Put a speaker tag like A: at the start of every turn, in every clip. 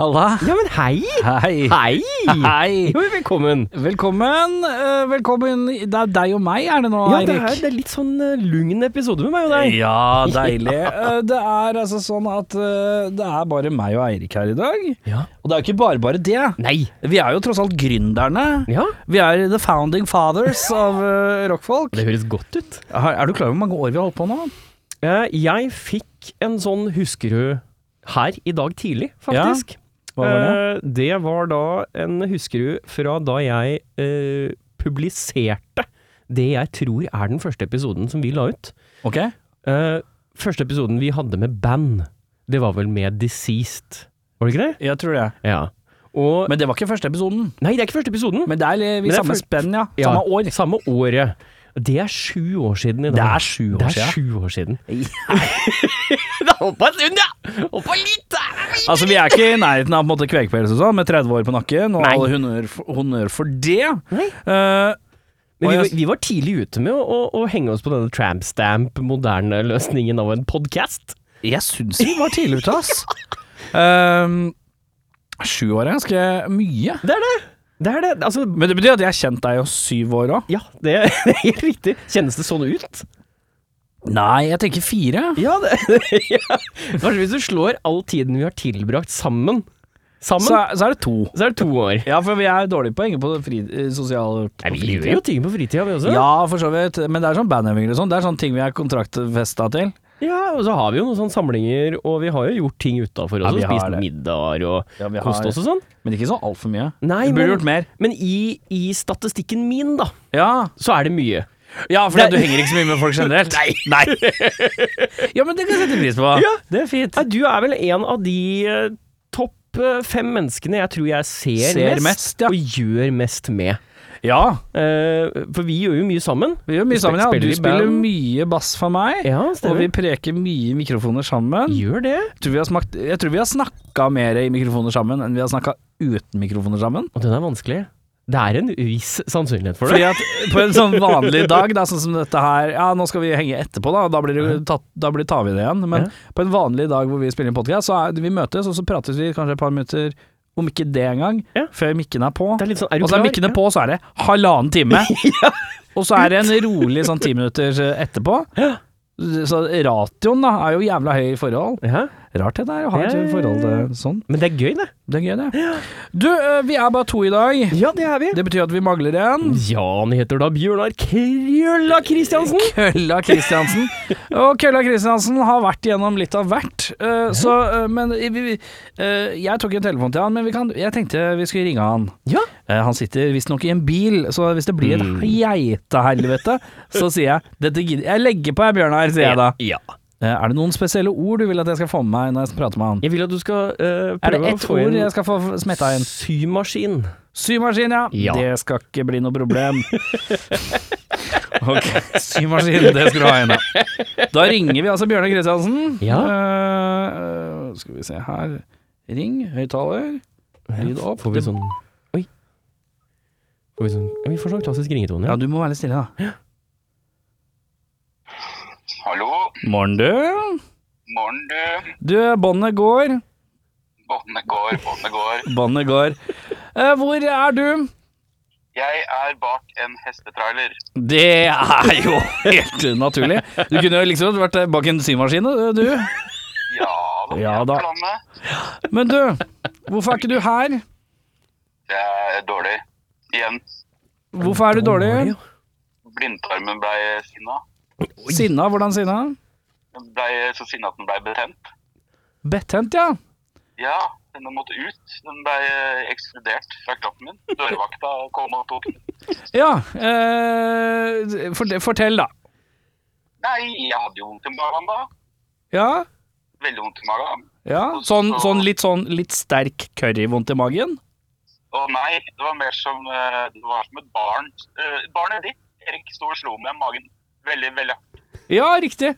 A: Halla.
B: Ja, men hei!
A: Hei.
B: Hei!
A: Hei.
B: Jo, velkommen.
A: Velkommen. eh, Velkommen. Det er deg og meg, er det nå,
B: Ja, det
A: Eirik?
B: er, det er litt sånn eh, lugn episode med meg og deg.
A: Ja, deilig. Eh, Det er altså sånn at eh, det er bare meg og Eirik her i dag.
B: Ja.
A: Og det er jo ikke bare bare det.
B: Nei.
A: Vi er jo tross alt gründerne.
B: Ja.
A: Vi er the founding fathers av eh, rockfolk.
B: Det høres godt ut.
A: Er er du klar over hvor mange år vi har holdt på nå?
B: Eh, Jeg fikk en sånn Huskerud her i dag tidlig, faktisk.
A: Hva var det?
B: Eh, Det var da en Huskerud fra da jeg eh, publiserte det jeg tror er den første episoden som vi la ut.
A: Ok.
B: Eh, Første episoden vi hadde med band, det var vel med Deceased, var det ikke det?
A: Jeg tror det.
B: Ja. Og
A: Men det var ikke første episoden.
B: Nei, det er ikke første episoden.
A: Men det er li-
B: Men
A: vi
B: det er
A: samme
B: før-
A: spenn, ja.
B: Ja,
A: Samme år.
B: Samme året. Det er sju år siden i dag.
A: Det er sju år
B: Det er
A: siden.
B: sju år siden. det har hoppa en stund, ja! Hoppa litt!
A: Altså, vi er ikke i nærheten av på en måte kvegpels og sånn, med 30 år på nakken, og
B: Nei.
A: all honnør for, honnør for det.
B: Nei.
A: Eh,
B: Men vi,
A: Og
B: var- vi var tidlig ute med å, å, å henge oss på denne trampstamp, moderne løsningen av en podkast.
A: jeg syns vi var tidlig ute, ass. Ehm, sju år er ganske mye.
B: Det er det! Det er det. Altså,
A: Men det betyr at jeg har kjent deg i syv år òg?
B: ja, det er helt riktig. Kjennes det sånn ut?
A: Nei, jeg tenker fire.
B: Ja, det ja. Kanskje hvis du slår all tiden vi har tilbrakt sammen, sammen,
A: Så,
B: så,
A: er- så er det to.
B: er det to år.
A: Ja, for vi er dårlige på å henge på fri, eh, sosial
B: Nei,
A: på
B: vi
A: fritid.
B: gjør jo ting på fritida, vi også.
A: Ja, for så vidt. Men det er sånn bandøvinger og sånn. Det er sånne ting vi er kontraktfesta til.
B: Ja, og så har vi jo noen sånne samlinger, og vi har jo gjort ting utafor
A: Ja,
B: også.
A: vi har
B: spist
A: det.
B: middager og
A: Ja, vi har-
B: kost oss og sånn.
A: Men ikke sånn altfor mye.
B: Nei,
A: vi burde
B: men-
A: gjort mer.
B: Men i, i statistikken min, da,
A: Ja,
B: så er det mye.
A: Ja, for
B: Det-
A: du henger ikke så mye med folk generelt. Nei. Ja, men det kan jeg sette pris på.
B: Ja.
A: det er fint.
B: Nei, du er vel en av de eh, topp eh, fem menneskene jeg tror jeg ser,
A: Ser
B: mest,
A: mest, ja.
B: og gjør mest med.
A: Ja,
B: Eh, for vi gjør jo mye sammen.
A: vi gjør mye sammen. Ja.
B: Spiller
A: Du
B: i
A: spiller
B: band.
A: mye bass for meg,
B: Ja,
A: og vi
B: stemmer.
A: preker mye i mikrofoner sammen.
B: gjør det.
A: Jeg tror vi har, smakt, jeg tror vi har snakka mer i mikrofoner sammen enn vi har snakka uten mikrofoner sammen.
B: Og den er vanskelig. Det er en viss sannsynlighet for det.
A: Fordi at på en sånn vanlig dag, da, sånn som dette her Ja, nå skal vi henge etterpå, da. Da blir, det, jo tatt, da blir, tar vi det igjen. Men
B: Ja.
A: på en vanlig dag hvor vi spiller inn podkast, så er, vi møtes, og så prates vi kanskje et par minutter, om ikke det engang,
B: Ja.
A: før mikken er på.
B: Det er litt sånn, er du
A: Og så er
B: klar?
A: mikkene
B: Ja.
A: på, og så er det halvannen time. Og så er det en rolig sånn ti minutter etterpå.
B: Ja.
A: Så ratioen da er jo jævla høy i forhold.
B: Ja.
A: Rart det der å ha et
B: Ja, ja, ja.
A: forhold til sånn.
B: Men det er gøy, det.
A: Det er gøy, det. Du, eh, vi er bare to i dag.
B: Ja, det er vi.
A: Det betyr at vi mangler en.
B: Ja, han heter da Bjørnar Krølla Kristiansen.
A: Kølla Kristiansen. Og Kølla Kristiansen har vært gjennom litt av hvert. eh, Så, eh, men vi, vi, eh, jeg tok en telefon til han, men vi kan, jeg tenkte vi skulle ringe han.
B: Ja.
A: Eh, Han sitter visstnok i en bil, så hvis det blir et
B: Mm.
A: geitehelvete, så sier jeg dette gidder Jeg legger på, jeg, Bjørnar, sier jeg da.
B: Ja.
A: Eh, Er det noen spesielle ord du vil at jeg skal få med meg når jeg prater med han?
B: Jeg vil at du skal eh,
A: Er
B: prøve
A: det
B: å
A: ett
B: få
A: ord
B: inn
A: jeg skal få smetta inn?
B: symaskin.
A: Symaskin, ja.
B: Ja.
A: Det skal ikke bli noe problem. ok, symaskin, det skal du ha inn, da. Da ringer vi altså Bjørnar Kristiansen.
B: Ja.
A: Eh, skal vi se her. Ring, høyttaler. Lyd opp.
B: Får vi sånn Oi. Får vi, sånn, ja, vi får sånn klassisk ringetone.
A: Ja,
B: Ja.
A: du må være litt stille, da.
C: Hallo,
A: Morn, du.
C: morgen du.
A: Du, båndet går.
C: Båndet går, båndet går.
A: Båndet går. Eh, hvor er du?
C: Jeg er bak en hestetrailer.
A: Det er jo helt naturlig. Du kunne jo liksom vært bak en symaskin, eh, du.
C: Ja da.
A: Ja
C: jeg er
A: da.
C: på landet.
A: Men du, hvorfor er ikke du her?
C: Det er dårlig. Igjen,
A: Hvorfor er du dårlig?
C: blindtarmen ble sinna.
A: Sinna? Hvordan sinna?
C: Den ble så sinna at den ble betent.
A: Bettent, ja.
C: Ja, den måtte ut. Den ble ekskludert fra kroppen min. Dørvakta kom og tok den.
A: Ja, eh, fort- fortell da.
C: Nei, jeg hadde jo vondt i magen da.
A: Ja,
C: Veldig vondt i magen.
A: ja. Sånn, sånn litt sånn litt sterk curryvondt i magen?
C: Og nei, det var mer som, eh, det var som et barn. Eh, Barnet ditt, Erik, sto og slo meg i magen. Veldig, veldig hardt.
A: Ja, riktig.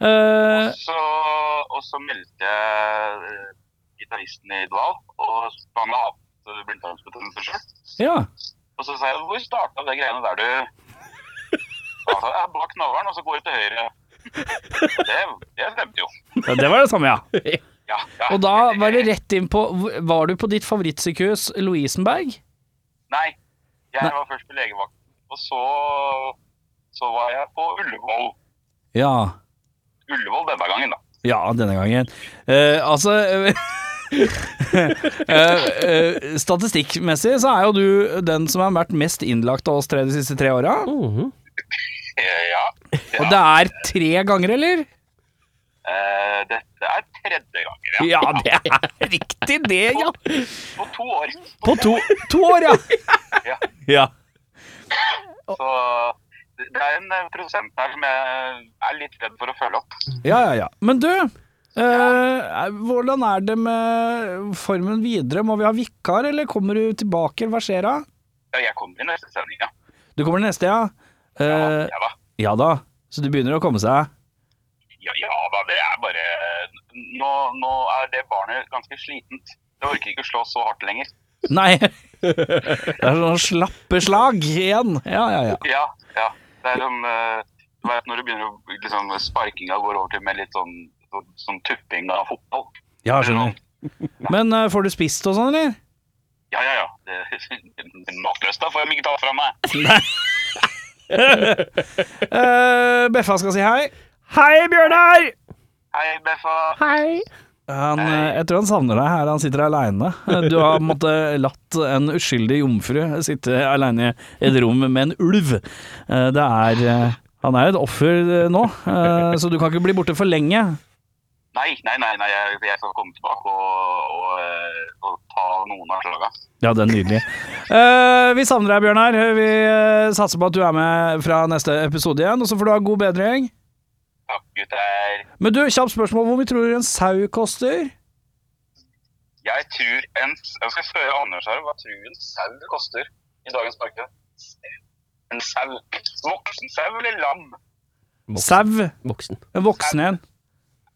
A: Eh,
C: så, og så meldte jeg eh, gitaristen i Dval, og han hadde hatt eh, blindtarmsbetennelse sjøl.
A: ja.
C: Og så sa jeg 'hvor starta det greiene der, du?' Og han sa «Ja, 'bak navlen, og så går du til høyre'. Og Det, det stemte jo.
A: ja, det var det samme, ja.
C: Ja, ja.
A: Og da var det rett inn på Var du på ditt favorittsykehus, Lovisenberg?
C: Nei. Jeg
A: Nei.
C: var først på legevakten, og så, så var jeg på Ullevål.
A: Ja.
C: Ullevål denne gangen, da.
A: Ja, denne gangen. Eh, altså eh, eh, Statistikkmessig så er jo du den som har vært mest innlagt av oss tre de siste tre åra.
B: Mhm.
C: Eh, Ja.
A: Og det er tre ganger, eller?
C: Eh, Dette er tredje gangen, ja.
A: Ja, det er riktig det, ja.
C: På to år.
A: På to, to år, ja.
C: Ja.
A: Ja.
C: Så det er en eh, prosent her som jeg eh, er litt redd for å følge opp.
A: Ja, ja, ja. Men du, eh, hvordan er det med formen videre? Må vi ha vikar, eller kommer du tilbake? eller Hva skjer da?
C: Ja, jeg kommer i neste sending, ja.
A: Du kommer neste, ja?
C: Ja,
A: Eh,
C: ja da.
A: ja da. Så du begynner å komme seg?
C: Ja, ja da, det er bare eh, nå, nå er det barnet ganske slitent. Det orker ikke å slå så hardt lenger.
A: Nei. Det er sånn slappe slag igjen. Ja, ja, ja.
C: Ja, ja. Det er sånn eh, Du vet når du begynner å liksom, Sparkinga går over til med litt sånn, sånn, sånn tupping av fotball.
A: Ja, skjønner. Men eh, får du spist og sånn, eller?
C: Ja, ja, ja. Det- Matløst, da får de ikke ta fra meg.
A: Eh, Beffa skal si hei.
B: Hei, Bjørnar!
C: Hei, Beffa.
B: Hei!
A: Han, eh, jeg tror han savner deg her han sitter aleine. Eh, Du har måttet latt en uskyldig jomfru sitte aleine i et rom med en ulv. Eh, Det er eh, Han er et offer eh, nå, eh, så du kan ikke bli borte for lenge.
C: Nei, nei, nei, nei jeg, jeg skal komme tilbake og, og, eh, og ta noen av slaga.
A: Ja, det er nydelig. Eh, Vi savner deg, Bjørnar. Vi eh, satser på at du er med fra neste episode igjen, og så får du ha god bedring.
C: Takk, gutter.
A: Men du, kjapt spørsmål. Hvor mye tror du en sau koster?
C: Jeg tror en Jeg skal spørre Anders her, hva tror du en sau koster i dagens marked? En sau? Voksen sau eller lam?
A: Sau?
B: Voksen.
A: En voksen en.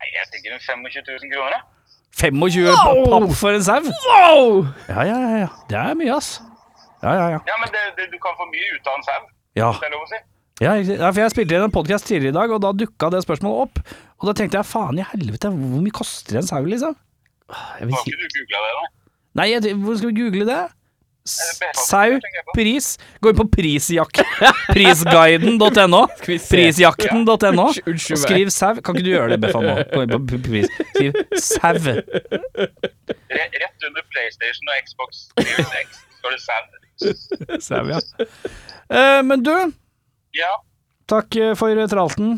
C: Nei, jeg tenker en 25 000 kroner. jeg.
A: 25 papp for en sau?
B: Wow!
A: Ja, ja, ja, ja. Det er mye, ass. Ja, ja, ja.
C: Ja, men det, det, du kan få mye ut av en sau,
A: Ja,
C: det er lov å si.
A: ja, riktig. ja for jeg spilte inn en podkast tidligere i dag, og da dukka det spørsmålet opp. Og da tenkte jeg faen i helvete, hvor mye koster en sau, liksom?
B: Jeg vil
C: Har
B: si
C: ikke du googla det, da?
A: Nei, jeg, hvor skal vi google det? S- Sau,
C: tenker jeg på.
A: pris Gå inn på prisjakt prisguiden.no.
B: vi se.
A: Prisjakten.no.
B: Unnskyld-
A: Og
B: unnskyld meg.
A: skriv sau. Kan ikke du gjøre det, Beffa, nå? Gå inn på p- pris. Skriv sau.
C: Re, rett under PlayStation og Xbox Series X står det sau.
A: sau ja. Eh, men du,
C: Ja,
A: takk eh, for tralten.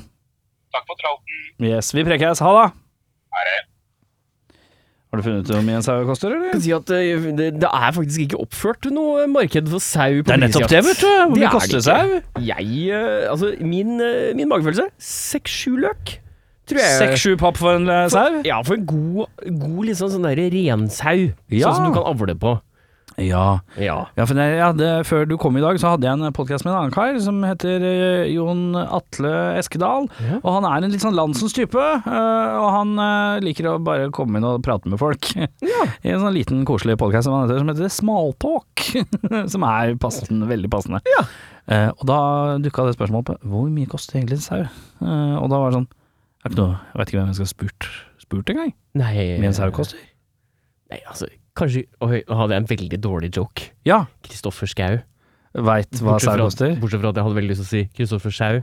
C: takk for tralten.
A: Yes, vi prekes. Ha det.
C: Er det
A: Har du funnet ut hvor mye en sau koster, eller?
B: kan si at eh, det, det er faktisk ikke oppført noe marked for sau på
A: Det er nettopp det, vet du. Hvor
B: Det
A: mye
B: er
A: koster
B: det
A: sau?
B: ikke. Jeg, eh, altså min, eh, min magefølelse, seks-sju løk, tror jeg.
A: Seks-sju papp for en eh, sau?
B: Ja, for en god, god liksom sånn der rensau,
A: Ja.
B: sånn som du kan avle på.
A: Ja.
B: Ja.
A: Ja, for jeg hadde, Før du kom i dag, så hadde jeg en podkast med en annen kar som heter eh, Jon Atle Eskedal.
B: Ja.
A: Og han er en litt sånn landsens type, eh, og han eh, liker å bare komme inn og prate med folk. I en sånn liten koselig podkast som han heter, som heter Smaltalk. som er passende, veldig passende.
B: Ja.
A: Eh, og da dukka det spørsmålet opp hvor mye koster egentlig en sau? Eh, og da var det sånn er det ikke noe, Jeg vet ikke hvem jeg skal ha spurt, spurt engang.
B: Nei,
A: Hvor mye en sau koster?
B: Nei, altså, kanskje Oi, nå hadde jeg en veldig dårlig joke.
A: Ja,
B: Kristoffer Schau.
A: veit hva
B: Bortsett
A: sau
B: fra, Mm.
A: koster.
B: bortsett fra at jeg hadde veldig lyst til å si Kristoffer Schau.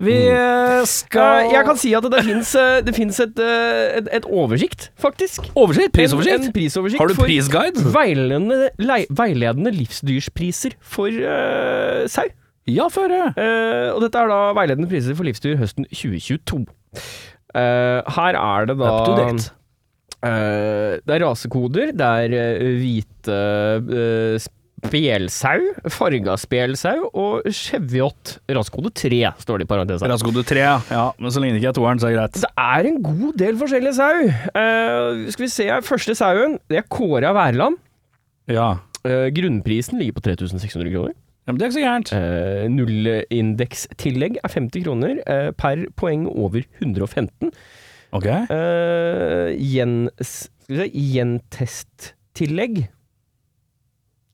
A: Vi eh, skal
B: Eh, Jeg kan si at det fins, eh, det fins et, eh, et, et oversikt, faktisk.
A: Oversikt?
B: En, en prisoversikt
A: Har du
B: for
A: prisguide?
B: veiledende, lei, veiledende livsdyrspriser for eh, sau.
A: Ja, føre.
B: Eh, og dette er da veiledende priser for livsdyr høsten 2022. Eh, her er det da
A: Up to date.
B: eh, det er rasekoder. Det er eh, hvite eh, spelsau, farga spelsau og cheviot. Rasekode 3, står det i parentes her.
A: Raskode 3, ja. ja. Men så lenge det ikke er toeren, så er det greit.
B: Det er en god del forskjellige sau. Eh, skal vi se her. Første sauen, det er Kåre av Værland.
A: Ja.
B: Eh, grunnprisen ligger på 3600 kroner.
A: ja men det er ikke så gærent.
B: Eh, Nullindekstillegg er 50 kroner eh, per poeng over 115.
A: Ok.
B: Eh, gjen, s- skal vi se, gjentesttillegg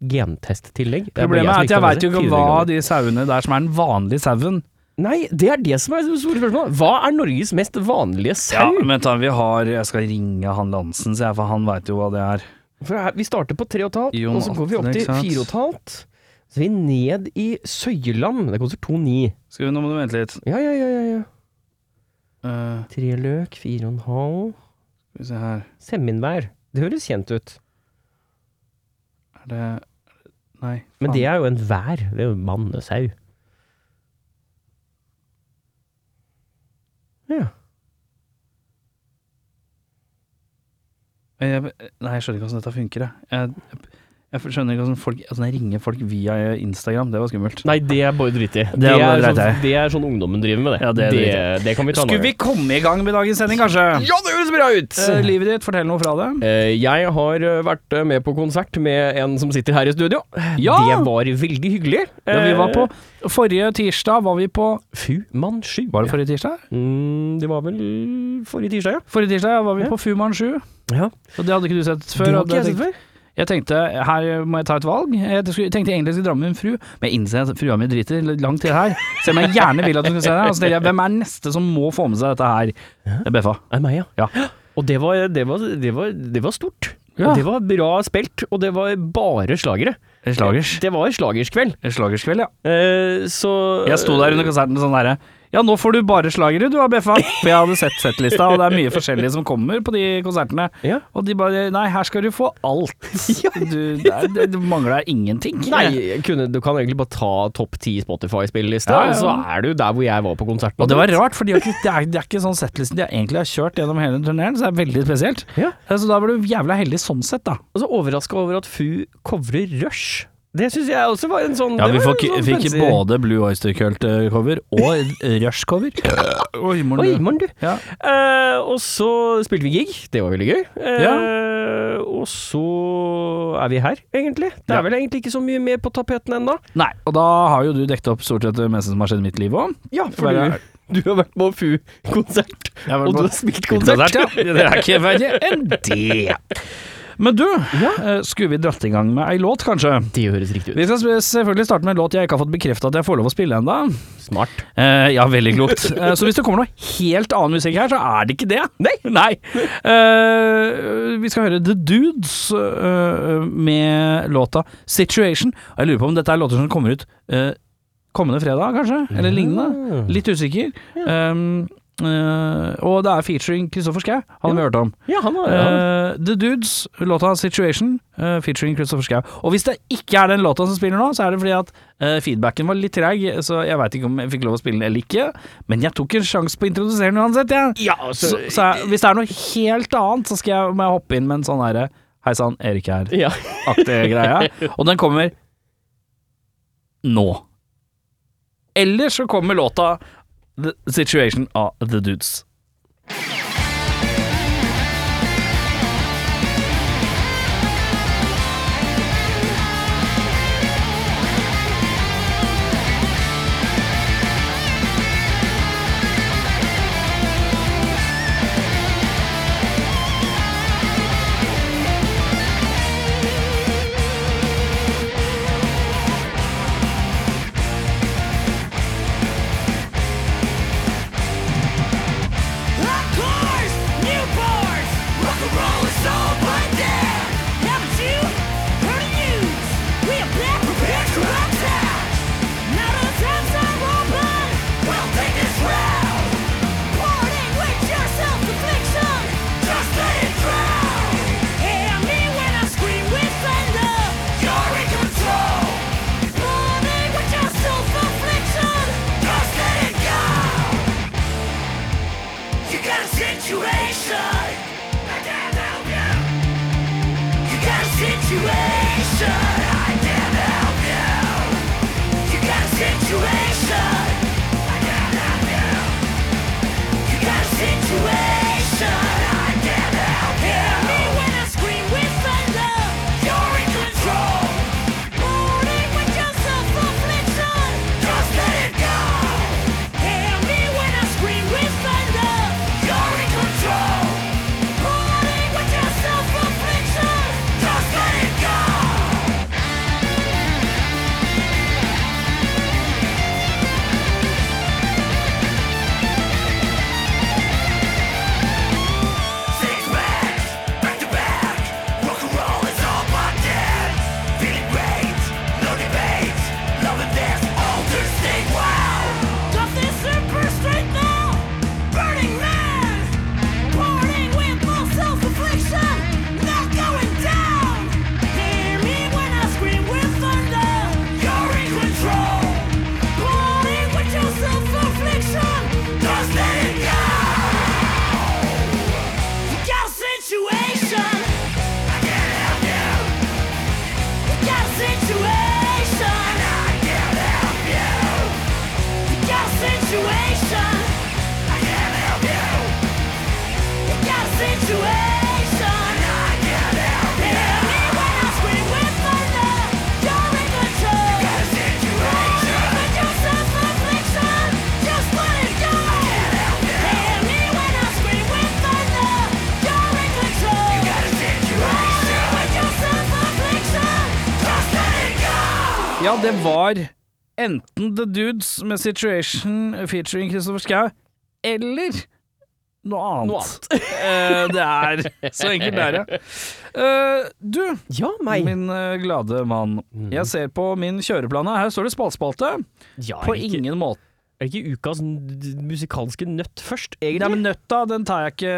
B: Gentesttillegg. Det er bare
A: Problemet er at jeg
B: som ikke
A: veit jo
B: kan
A: ikke
B: lese.
A: hva
B: 400 kroner.
A: de sauene der som er den vanlige sauen
B: Nei, det er det som er det store spørsmålet. Hva er Norges mest vanlige
A: Ja,
B: sau?
A: men ta, vi har Jeg skal ringe han Lansen, sier jeg, for han veit jo hva det er.
B: For her, vi starter på 3,5,
A: Jon
B: og så går vi opp
A: Atle,
B: til
A: ikke sant?
B: 4,5. Så er vi ned i Søyeland. Det koster 2,9.
A: Skal vi, Nå må du vente litt.
B: Ja, ja, ja, ja, ja.
A: Eh,
B: Tre løk, 4,5.
A: skal vi se her
B: Seminvær. Det høres kjent ut.
A: Er det Nei.
B: Men
A: faen.
B: det er jo en vær. Det er jo mannesau. Ja.
A: jeg, Nei, jeg skjønner ikke hvordan dette funker, jeg. Jeg, jeg, jeg skjønner ikke hvordan folk Altså, jeg ringer folk via Instagram, det var skummelt.
B: Nei, det er bare dritt i.
A: Det er bare dreit i.
B: sånn, det er sånn ungdommen driver med det.
A: Ja, det er
B: det kan vi ta
A: Skulle vi komme i gang med dagens sending, kanskje?
B: Ja, det høres bra ut!
A: Eh, livet ditt, fortell noe fra det.
B: Eh, Jeg har eh, vært eh, med på konsert med en som sitter her i studio.
A: Ja!
B: Eh, Det var veldig hyggelig.
A: Ja, vi var på Forrige tirsdag var vi på
B: Eh, Fu Manchu.
A: Var det forrige tirsdag?
B: Mm, det var vel forrige tirsdag, ja.
A: Forrige tirsdag var vi
B: Ja.
A: på Fuman 7,
B: ja.
A: og det hadde ikke du sett før.
B: Det har
A: og det
B: ikke jeg sett
A: tenkte-
B: før.
A: Jeg tenkte her må jeg ta et valg. Jeg skulle- tenkte egentlig jeg skulle dra med min fru, men jeg innser at frua mi driter litt langt til her. Selv om jeg gjerne vil at hun skal se det. her, Og så tenker jeg, hvem er neste som må få med seg dette her? Det er Beffa.
B: Er meg, ja.
A: Ja.
B: Og det var, det var, det var, det var stort.
A: Ja.
B: Og Det var bra spilt, og det var bare slagere.
A: Slagers.
B: Det var slagerskveld.
A: Slagerskveld, ja.
B: Eh, så
A: Jeg sto der under konserten sånn herre Ja, nå får du bare slagere, du, Beffa. For jeg hadde sett settlista, og det er mye forskjellig som kommer på de konsertene.
B: Ja.
A: Og de bare Nei, her skal du få alt. Du, det, er- det, det mangler ingenting.
B: Nei, jeg kunne, du kan egentlig bare ta topp ti Spotify-spilleliste,
A: Ja, ja, ja.
B: og så er du der hvor jeg var på konserten.
A: Og det var rart, for de har ikke, det, er, det er ikke sånn settlisten de egentlig har kjørt gjennom hele turneen, så det er veldig spesielt. Eh,
B: Ja.
A: Så da var du jævla heldig sånn sett, da.
B: Og så overraska over at Fu covrer Rush. Det syns jeg også var en sånn
A: Ja,
B: det
A: vi
B: var
A: fikk,
B: en sånn
A: fikk
B: fancy-
A: både Blue Oyster Cult-cover og Rush-cover. Oi,
B: Oi,
A: morgen.
B: mann, du.
A: Ja.
B: Eh, og så spilte vi gig. Det var veldig gøy. Eh,
A: Ja.
B: Og så er vi her, egentlig. Det er
A: Ja.
B: vel egentlig ikke så mye mer på tapeten ennå.
A: Nei, og da har jo du dekket opp stort sett det meste som har skjedd i mitt liv òg.
B: Ja, for
A: Hva er
B: du, du har vært på FU-konsert,
A: har vært
B: og
A: på
B: du har spilt konsert.
A: ja. Det er ikke verre enn det. Men du, eh, skulle vi dratt i gang med ei låt, kanskje?
B: Det høres riktig ut.
A: Vi skal sp- selvfølgelig starte med en låt jeg ikke har fått bekrefta at jeg får lov å spille ennå.
B: Smart.
A: Eh, ja, veldig klokt. Eh, så hvis det kommer noe helt annen musikk her, så er det ikke det. Nei. Eh, vi skal høre The Dudes eh, med låta Situation. Og jeg lurer på om dette er låter som kommer ut eh, kommende fredag, kanskje? Eller lignende. Litt usikker. Um, eh, og det er featuring Kristoffer Schau, han har vi hørt om.
B: Ja, han har
A: Eh, The Dudes, låta Situation, eh, featuring Christopher Schau. Og hvis det ikke er den låta som spiller nå, så er det fordi at eh, feedbacken var litt treig, så jeg veit ikke om jeg fikk lov å spille den eller ikke, men jeg tok en sjanse på å introdusere den uansett, jeg.
B: ja, altså.
A: Så,
B: så,
A: så jeg, hvis det er noe helt annet, så skal jeg, må jeg hoppe inn med en sånn herre Hei sann, Erik er
B: ja.
A: aktige greia. Og den kommer nå. Eller så kommer låta The Situation av The Dudes.
D: Of course, newborns, rock and roll is all but dead. Haven't you heard the news? We are back prepared to attack. Now the times are open. We'll take this round. Parting with your self-affliction. Just let it drown. Hear me when I scream with thunder. You're in control. Parting with your self-affliction. Just let it go. You got a situation. I can't help you. You got a situation. I can't help you. You got a situation. I can't help you. You got a situation. I can't help you. Hear me when I scream with thunder. You're in control. Morning with your self-affliction. Just let it go. Hear me when I scream with thunder. You're in control. Morning with your self-affliction. Just let it go.
A: Ja, det var enten The Dudes med Situation featuring Kristoffer Schau, eller noe annet.
B: Noe
A: Eh, det er så enkelt det er, ja. Eh, du,
B: Ja, meg.
A: min eh, glade mann.
B: Mhm.
A: Jeg ser på min kjøreplane. Her står det spaltspalte.
B: ja,
A: På
B: er det ikke-
A: ingen måte.
B: Er det ikke ukas n- musikalske nøtt først,
A: Nei,
B: egentlig?
A: men nøtta, den tar jeg ikke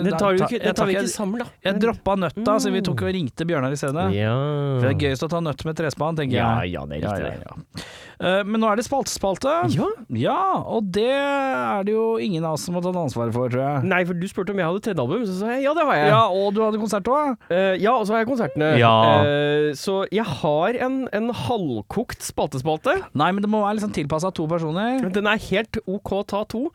B: den tar, jo
A: ta-
B: ikke,
A: jeg
B: den tar vi
A: ikke-
B: ikke sammen, da.
A: Jeg droppa nøtta, så vi tok og ringte Bjørnar i stedet.
B: Ja.
A: For det er gøyest å ta nøtt med trespann, tenker
B: Ja,
A: jeg.
B: ja, det er riktig.
A: Ja, ja, ja. Eh, men nå er det spaltespalte.
B: Ja.
A: Ja, og det er det jo ingen av oss som har tatt ansvaret for, tror jeg.
B: Nei, for du spurte om jeg hadde tredje album, så sa jeg ja, det har jeg.
A: Ja, og du hadde konsert òg?
B: Eh, ja, og så har jeg konsertene.
A: Ja.
B: Eh, så jeg har en, en halvkokt spaltespalte.
A: Nei, men det må være liksom tilpassa to personer.
B: Den er helt OK ta to.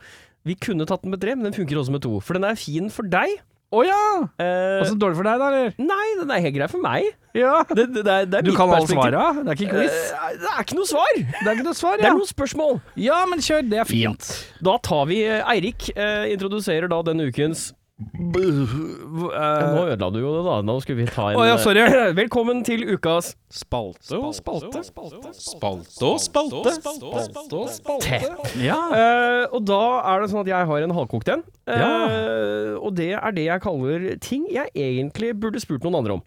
B: Vi kunne tatt den med tre, men den funker også med to. For den er fin for deg.
A: Å ja!
B: Eh,
A: Og så dårlig for deg, da, eller?
B: nei, den er helt grei for meg.
A: Ja.
B: Det, det, det er, det er
A: Du
B: mitt
A: kan alle
B: perspektiv.
A: svara? Det er ikke quiz?
B: Eh, det er ikke noe svar!
A: Det er ikke noe svar,
B: Det
A: ja.
B: er noen spørsmål.
A: Ja, men kjør. Det er fint.
B: Da tar vi eh, Eirik. eh, introduserer da denne ukens
A: eh,
B: Nå
A: Å
B: ødela du jo det, da. Nå skulle vi ta en
A: ja, sorry.
B: eh, Velkommen til ukas
E: Spalte og spalte. Spalte og spalte. Spalte og spalte.
A: Ja.
B: Eh, og da er det sånn at jeg har en halvkokt en. Eh, Og det er det jeg kaller ting jeg egentlig burde spurt noen andre om.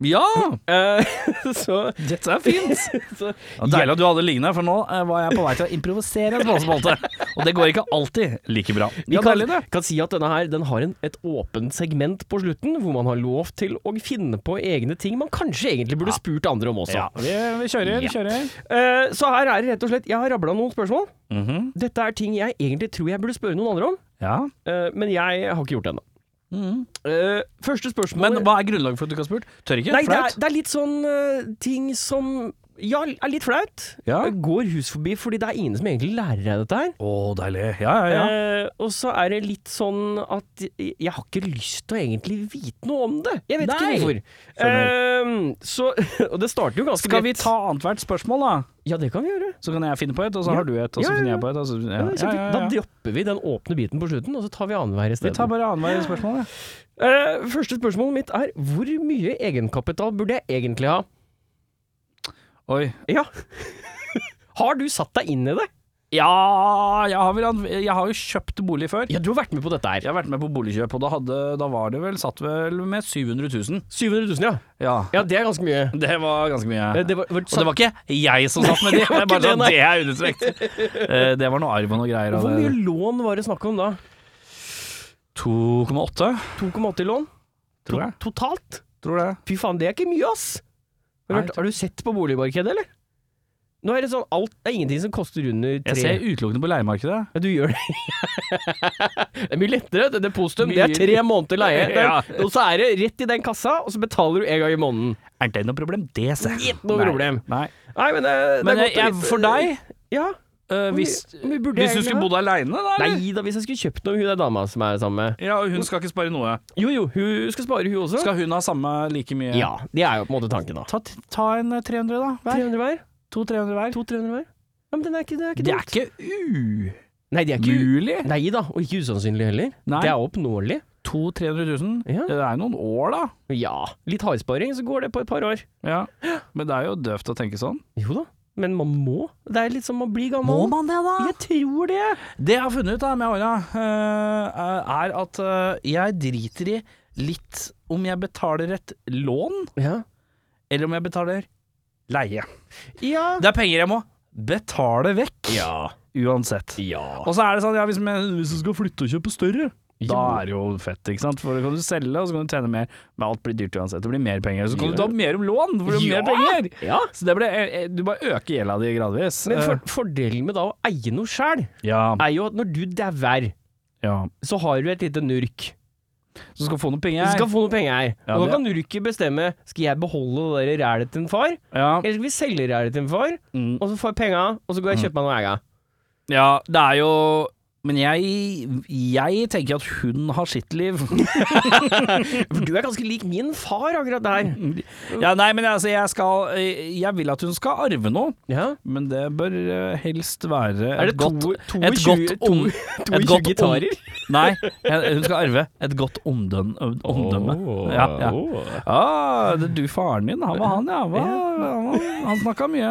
A: ja.
B: Eh, så
A: Dette er fint.
B: så
A: Ja, Deilig at du hadde liggende, for nå eh, var jeg på vei til å improvisere en småspalte. Og det går ikke alltid like bra.
B: vi
A: Ja,
B: kan,
A: deilig, det.
B: kan si at denne her den har en, et åpent segment på slutten, hvor man har lov til å finne på egne ting man kanskje egentlig burde spurt andre om også.
A: Ja, vi, vi kjører, vi
B: Ja.
A: kjører.
B: Eh, så her er det rett og slett Jeg har rabla noen spørsmål.
A: Mhm.
B: Dette er ting jeg egentlig tror jeg burde spørre noen andre om,
A: Ja.
B: eh, men jeg har ikke gjort det ennå. Eh, første spørsmål
A: Mm. Men hva er grunnlaget for at du ikke har spurt? Tør ikke?
B: Nei, det er,
A: Flaut?
B: det er litt sånn eh, ting som ja, er litt flaut.
A: Ja.
B: Går hus forbi, fordi det er ingen som egentlig lærer deg dette her.
A: Å, deilig. Ja, ja, ja.
B: Eh, og så er det litt sånn at jeg jeg har ikke lyst til å egentlig vite noe om det. Jeg vet
A: Nei.
B: ikke hvorfor. Eh, så, og det starter jo ganske
A: Skal vi
B: bredt.
A: ta annethvert spørsmål, da?
B: Ja, det kan vi gjøre.
A: Så kan jeg finne på et, og så
B: Ja.
A: har du et, og så
B: Ja, ja,
A: finner
B: ja.
A: jeg på et. Og så, ja.
B: Ja,
A: Ja, ja,
B: kjempefint. Da
A: ja,
B: dropper vi den åpne biten på slutten, og så tar vi annenhver
A: Vi
B: isteden.
A: tar bare annethvert spørsmål, ja.
B: Eh, første spørsmålet mitt er hvor mye egenkapital burde jeg egentlig ha?
A: Oi.
B: Ja. har du satt deg inn i det?
A: Ja, jeg har, vel, an- jeg har jo kjøpt bolig før.
B: Ja, du har vært med på dette her.
A: Jeg har vært med på boligkjøp, og da, hadde, da var det vel satt vel med 700 000.
B: 700 000, ja.
A: Ja.
B: Ja, det er ganske mye.
A: Det var ganske mye.
B: Eh, Det var, var,
A: Og det var ikke jeg som satt med de.
B: det
A: Det,
B: var
A: bare
B: ikke det,
A: sånn,
B: nei.
A: det er understrekt. Eh, Det var noe arv og noe greier. av
B: Hvor mye
A: det.
B: lån var det snakk om da?
A: 2,8,
B: 2,80 lån? To-
A: tror jeg.
B: Totalt?
A: Tror det.
B: Fy faen, det er ikke mye, ass! Har du,
A: Nei,
B: hørt- har du sett på boligmarkedet, eller? Nå er det sånn alt Det er ingenting som koster under tre.
A: Jeg ser utelukkende på leiemarkedet.
B: Ja, du gjør det. det er mye lettere. Det er positivt. Det
A: Mye-
B: er tre måneder leie. Det er-
A: Ja.
B: Og så er det rett i den kassa, og så betaler du en gang i måneden.
A: Er det noe problem? Det ser jeg.
B: Ikke noe
A: Nei.
B: problem.
A: Nei.
B: Nei, men det, det
A: Men
B: er
A: jeg,
B: godt å
A: jeg,
B: vite.
A: for deg,
B: Ja.
A: eh, hvis,
B: Hvor mye burde
A: hvis
B: jeg
A: du skulle
B: egentlig
A: bodd aleine, da? eller?
B: Nei da, hvis jeg skulle kjøpt noe, hun der dama som er sammen med
A: Ja, og hun skal ikke spare noe.
B: Jo jo, hun skal spare, hun også.
A: Skal hun ha samme like mye?
B: Ja, det er jo på en måte tanken, da.
A: Ta, ta en eh, 300, da. Hver.
B: 300 hver?
A: 200-300 hver.
B: 200-300 hver? Ja, men den er ikke, det er ikke
A: Det er
B: dumt.
A: ikke umulig.
B: Nei, det er ikke Nei da, og ikke usannsynlig heller.
A: Nei.
B: Det er oppnåelig.
A: 200-300 000.
B: Ja.
A: Det er noen år, da.
B: Ja. Litt hardsparing, så går det på et par år.
A: Ja. Men det er jo døvt å tenke sånn.
B: Jo da, men man må. Det er litt som å bli gammel.
A: man det, da?
B: Jeg tror det.
A: Det jeg har funnet ut da med åra, eh, er at eh, jeg driter i litt om jeg betaler et lån,
B: Ja.
A: eller om jeg betaler leie.
B: Ja.
A: Det er penger jeg må betale vekk,
B: Ja.
A: uansett. Og så er det sånn, ja, hvis, men, hvis du skal flytte og kjøpe større, da er det jo fett, ikke sant? For da kan du selge, og så kan du tjene mer. Men alt blir dyrt uansett. Det blir mer penger. Så kan du ta mer om lån, for det blir
B: Ja.
A: mer penger.
B: Ja.
A: Så det blir, eh, eh, du bare øker gjelda di gradvis.
B: Men for,
A: Eh,
B: fordelen med da å eie noe sjæl,
A: ja,
B: er jo at når du dauer,
A: ja.
B: så har du et lite nurk.
A: Så du skal få noen
B: Du
A: penger.
B: skal få noe penger her.
A: Ja,
B: og
A: det-
B: da kan nurket bestemme Skal jeg beholde det der rælet til en far,
A: Ja.
B: eller skal vi selge rælet til en far,
A: Mm.
B: og så får jeg penga, og så går jeg og kjøper meg noe ega.
A: Ja, det er jo Men jeg, jeg tenker at hun har sitt liv.
B: For du er ganske lik min far akkurat der.
A: Ja, nei, men altså, jeg skal eh, Jeg vil at hun skal arve noe,
B: Ja.
A: men det bør eh, helst være
B: Er det
A: et
B: to,
A: godt
B: to, to,
A: et godt om-
B: to,
A: et godt om-
B: gitarer?
A: Nei, jeg- hun skal arve et godt omdøm, omdømme.
B: Åh,
A: Ja, ja.
B: åh.
A: Ah, det er du faren din, han var han, ja. Hva, han han snakka mye.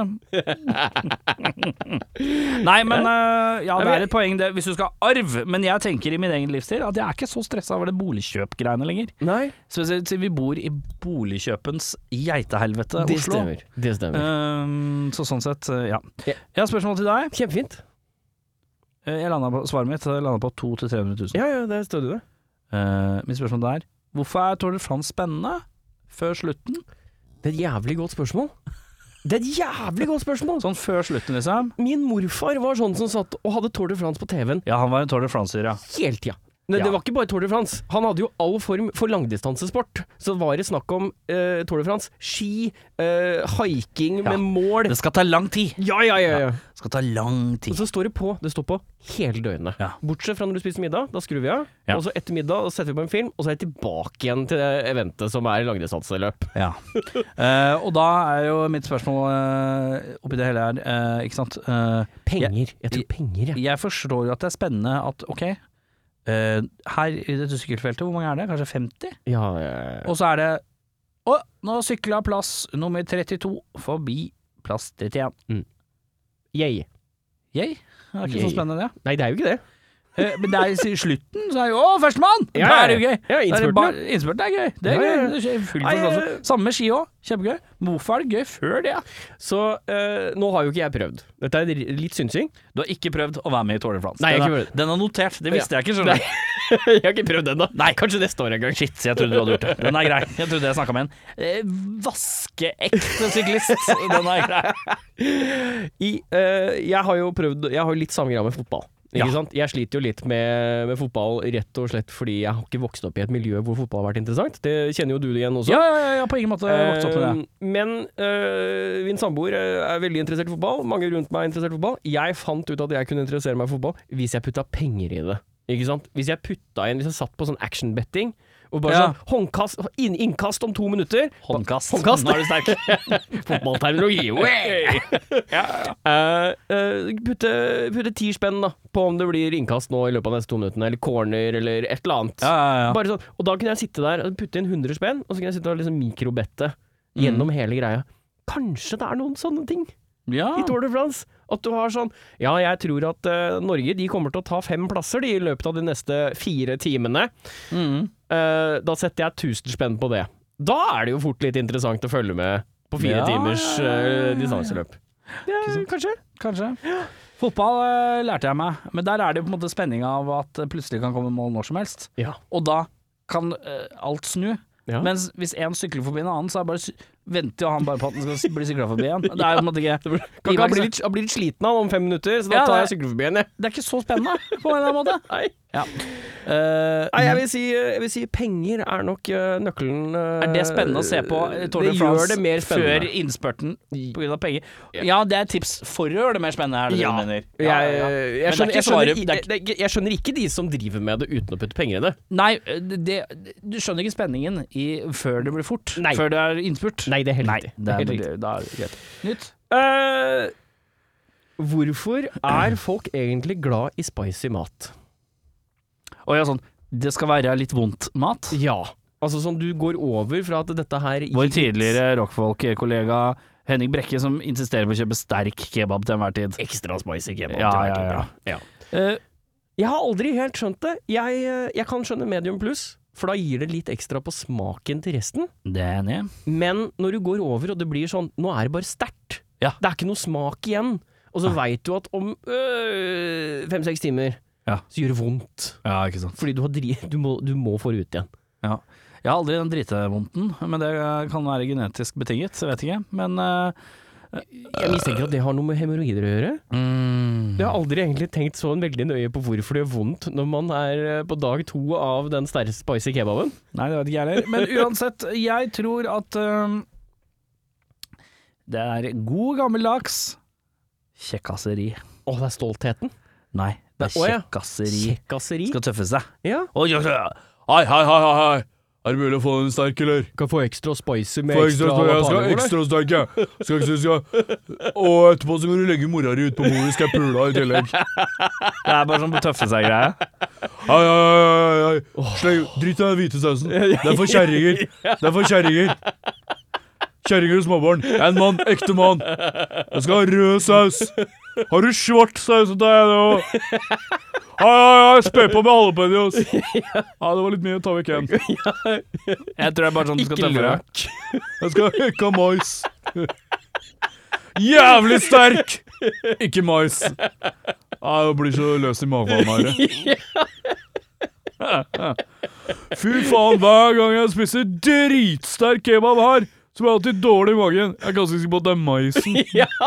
A: Nei, men eh, ja, det er et poeng det, hvis du skal arv. Men jeg tenker i min egen livsstil at jeg er ikke så stressa over det boligkjøpgreiene lenger.
B: Nei,
A: Spesielt siden vi bor i boligkjøpens geitehelvete
B: det
A: Oslo.
B: stemmer. Det stemmer.
A: Eh, så sånn sett, eh, ja.
B: Ja.
A: Jeg har spørsmål til deg.
B: Kjempefint.
A: Eh, Jeg landet på, svaret mitt jeg landet på 200 000-300 000.
B: Ja, ja, der står det.
A: Eh, mitt spørsmål er Hvorfor er Tour de France spennende før slutten?
B: Det er et jævlig godt spørsmål. Det er et jævlig godt spørsmål!
A: Sånn før slutten, liksom.
B: Min morfar var sånn som satt og hadde Tour de France på TV-en
A: Ja, han var en Tour de France-er, ja.
B: hele tida.
A: Ja.
B: Men det var ikke bare Tour de France. Han hadde jo all form for langdistansesport. Så var det snakk om eh, Tour de France, ski, eh, hiking
A: Ja.
B: med mål
A: Det skal ta lang tid.
B: Ja, ja, ja, ja.
A: Det skal ta lang
B: Og
A: tid.
B: så står det på. Det står på hele døgnet.
A: Ja.
B: Bortsett fra når du spiser middag. Da skrur vi av.
A: Ja.
B: Og så etter middag da setter vi på en film, og så er jeg tilbake igjen til det eventet som er langdistanseløp.
A: Ja. Eh, og da er jo mitt spørsmål eh, oppi det hele her, eh, ikke sant Eh,
B: Penger. Jeg tror penger, jeg.
A: Jeg forstår jo at det er spennende at ok, eh, her i dette sykkelfeltet, hvor mange er det? Kanskje 50?
B: Ja, eh, ja, ja.
A: Og så er det Å, nå sykla plass nummer 32 forbi plass 31.
B: Yay.
A: Yay. Det er ikke
B: Yay.
A: så spennende, det.
B: Nei, det er jo ikke det.
A: Eh, Men det er i slutten, så er det jo Å, førstemann!
B: Ja,
A: Da er det jo gøy.
B: ja,
A: Da er det
B: innspurten,
A: bare- Innspurten er gøy. Det er
B: Ja, ja, ja.
A: gøy. Det skjer full
B: Nei,
A: forståelse.
B: eh,
A: Samme med ski òg. Kjempegøy. Men hvorfor er det gøy før det?
B: Så eh, nå har jo ikke jeg prøvd. Dette er litt synsing.
A: Du har ikke prøvd å være med i Tour de France.
B: Nei, jeg har
A: den,
B: ikke
A: er,
B: prøvd.
A: den er notert. Det visste jeg ikke, skjønner
B: Nei.
A: du.
B: jeg har ikke prøvd ennå. Nei, kanskje neste år en gang.
A: Shit, jeg trodde du hadde gjort det. Den er grei. Jeg trodde jeg snakka med en eh, vaskeekte syklist. Den er grei.
B: I, eh, jeg har jo prøvd Jeg har jo litt samme greia med fotball. Ikke
A: Ja.
B: sant? Jeg sliter jo litt med, med fotball rett og slett fordi jeg har ikke vokst opp i et miljø hvor fotball har vært interessant. Det kjenner jo du igjen også.
A: Ja, ja, ja, på ingen måte vokst opp med det.
B: Eh, Men eh, min samboer eh, er veldig interessert i fotball. Mange rundt meg er interessert i fotball. Jeg fant ut at jeg kunne interessere meg i fotball hvis jeg putta penger i det. Ikke sant? Hvis jeg putta inn Hvis jeg satt på sånn actionbetting og bare
A: Ja.
B: sånn håndkast, inn, innkast om to minutter
A: Håndkast.
B: Håndkast.
A: Nå er du sterk.
B: Fotballterminologi! way! Eh, eh, putte, putte ti spenn da på om det blir innkast nå i løpet av neste to minuttene, eller corner, eller et eller annet.
A: Ja, ja, ja.
B: Bare sånn. Og da kunne jeg sitte der og putte inn 100 spenn, og så kunne jeg sitte og liksom mikrobette
A: Mm.
B: gjennom hele greia. Kanskje det er noen sånne ting
A: ja.
B: i Tour de France? At du har sånn Ja, jeg tror at eh, Norge de kommer til å ta fem plasser de, i løpet av de neste fire timene.
A: Mm.
B: Eh, da setter jeg 1000 spenn på det. Da er det jo fort litt interessant å følge med på fire
A: Ja,
B: timers
A: ja, ja, ja,
B: eh,
A: ja.
B: distanseløp. Ja, kanskje.
A: Kanskje. Fotball eh, lærte jeg meg, men der er det jo på en måte spenning av at det plutselig kan komme mål når som helst.
B: Ja.
A: Og da kan eh, alt snu.
B: Ja.
A: Mens hvis én sykler forbi en annen, så er det bare, sy- venter jo han bare på at den skal s- bli sykla forbi igjen. Det er jo på en måte ikke
B: Kan ikke,
A: Iversen.
B: han, blir litt, han blir litt sliten han om fem minutter, så da
A: Ja,
B: tar jeg
A: det-
B: sykler forbi igjen, jeg.
A: Det er ikke så spennende, på en eller annen måte.
B: Nei.
A: Ja. Eh,
B: Nei, jeg vil, si, jeg vil si penger er nok eh, nøkkelen eh,
A: er det spennende å se på eh, Tour de
B: Det
A: France
B: gjør det mer
A: før
B: spennende.
A: innspurten pga. penger? Ja, det er et tips for å gjøre det mer spennende, er det
B: Ja.
A: det du mener?
B: Jeg, eh, jeg,
A: Men det er
B: skjønner, jeg,
A: ikke svaret-
B: skjønner,
A: det
B: i-
A: er
B: det- det- jeg skjønner ikke de som driver med det uten å putte penger i det.
A: Nei, det, det, du skjønner ikke spenningen i, før det blir fort.
B: Nei.
A: Før det er innspurt.
B: Nei, det er helt
A: Nei,
B: riktig.
A: det er,
B: Helt
A: veldig- da er det greit. Nytt.
B: Eh, hvorfor er folk egentlig glad i spicy mat?
A: Og ja, sånn Det skal være litt vondt mat.
B: Ja. Altså sånn du går over fra at dette her gir
A: Vår
B: litt-
A: tidligere rockfolk-kollega Henning Brekke som insisterer på å kjøpe sterk kebab til enhver tid.
B: Ekstra spicy kebab.
A: Ja,
B: til
A: ja,
B: hvert år,
A: ja.
B: ja. Jeg har aldri helt skjønt det. Jeg, eh, jeg kan skjønne medium pluss, for da gir det litt ekstra på smaken til resten.
A: det er jeg enig i.
B: Men når du går over og det blir sånn Nå er det bare sterkt.
A: Ja.
B: Det er ikke noe smak igjen. Og så veit du at om øh, fem-seks timer
A: Ja.
B: så gjør det vondt.
A: Ja, ikke sant.
B: Fordi du, har dri du, må, du må få det ut igjen.
A: Ja. Jeg har aldri den dritevondten, men det kan være genetisk betinget, jeg vet ikke. Men eh,
B: Jeg mistenker at det har noe med hemoroider å gjøre.
A: mm,
B: Jeg har aldri egentlig tenkt så veldig nøye på hvorfor det gjør vondt når man er eh, på dag to av den sterke spicy kebaben.
A: Nei, det vet ikke jeg heller. Men uansett, jeg tror at eh, det er god gammeldags kjekkaseri.
B: Å, det er stoltheten.
A: Nei, det er
B: Å, ja.
A: kjekkasseri.
B: Kjekkaseri?
A: Skal tøffe seg.
B: Ja.
A: Å, ja, ja.
E: Hei, hei, hei, hei, hei. Er det mulig å få en sterk, eller?
B: Kan få ekstra spicy med
E: Få ekstra, jeg skal ha
B: ekstra
E: ekstra sterk, jeg. Skal ikke synes jeg. Og etterpå så kan du legge mora di ut på bordet, skal jeg pule deg i tillegg.
A: Det er bare sånn på tøffe seg-greie.
E: Hei, hei, hei, hei, hei. Sleng, drit i den hvite sausen. Det er for kjerringer. Det er for kjerringer. Kjerringer og småbarn. Jeg er en mann, ekte mann. Jeg skal ha rød saus. Har du svart saus til deg, det òg? Hei, hei, hei, spe på med jalapeños. Ja, det var litt mye. Ta vekk en.
A: Jeg tror det er bare sånn du skal
B: Ikke
A: tøffe deg.
B: løk.
E: Jeg skal ha ikke ha mais. Jævlig sterk! Ikke mais. Nei, det blir så løs i magen av meg. Fy faen, hver gang jeg spiser dritsterk kebab her, så blir jeg alltid dårlig i magen. Jeg er ganske sikker på at det er maisen.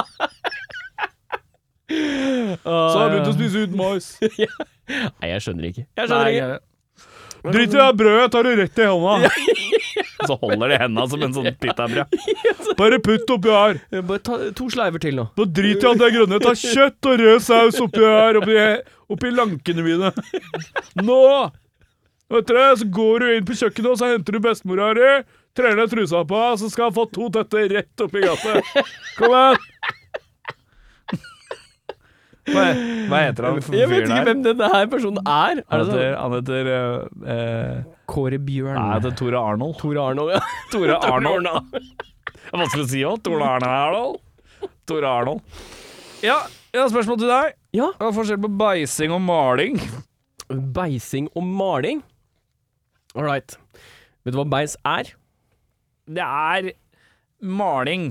E: Så har jeg begynt å spise uten mais.
B: Nei, jeg skjønner ikke. Jeg skjønner
A: Nei,
B: ikke.
A: jeg-
E: Drit i det her brødet, jeg tar det rett i hånda.
A: Så holder de henda som en sånn pitabrød.
E: Bare putt oppi her.
B: Jeg Bare ta to sleiver til nå.
E: Nå driter jeg i alt det grønne. Ta kjøtt og rød saus oppi her, oppi, oppi lankene mine. Nå! Vet dere, så går du inn på kjøkkenet, og så henter du bestemora di. Trer ned trusa på henne, så skal hun få to tøtter rett oppi gata. Kom igjen!
A: Hva, hva heter han
B: Jeg vet ikke
A: fyren der?
B: hvem denne her personen er. Er
A: Han
B: det sånn
A: heter, han heter eh, eh,
B: Kåre Bjørn?
A: Nei, det er Tore Arnold.
B: Tore Arnold, ja.
A: Tore Arnold. Det er vanskelig å si òg. Tore Arnold. Tore Arnold. Ja, jeg har spørsmål til deg.
B: Ja.
A: Hva er forskjell på beising og maling?
B: Beising og maling. All right. Vet du hva beis er?
A: Det er maling.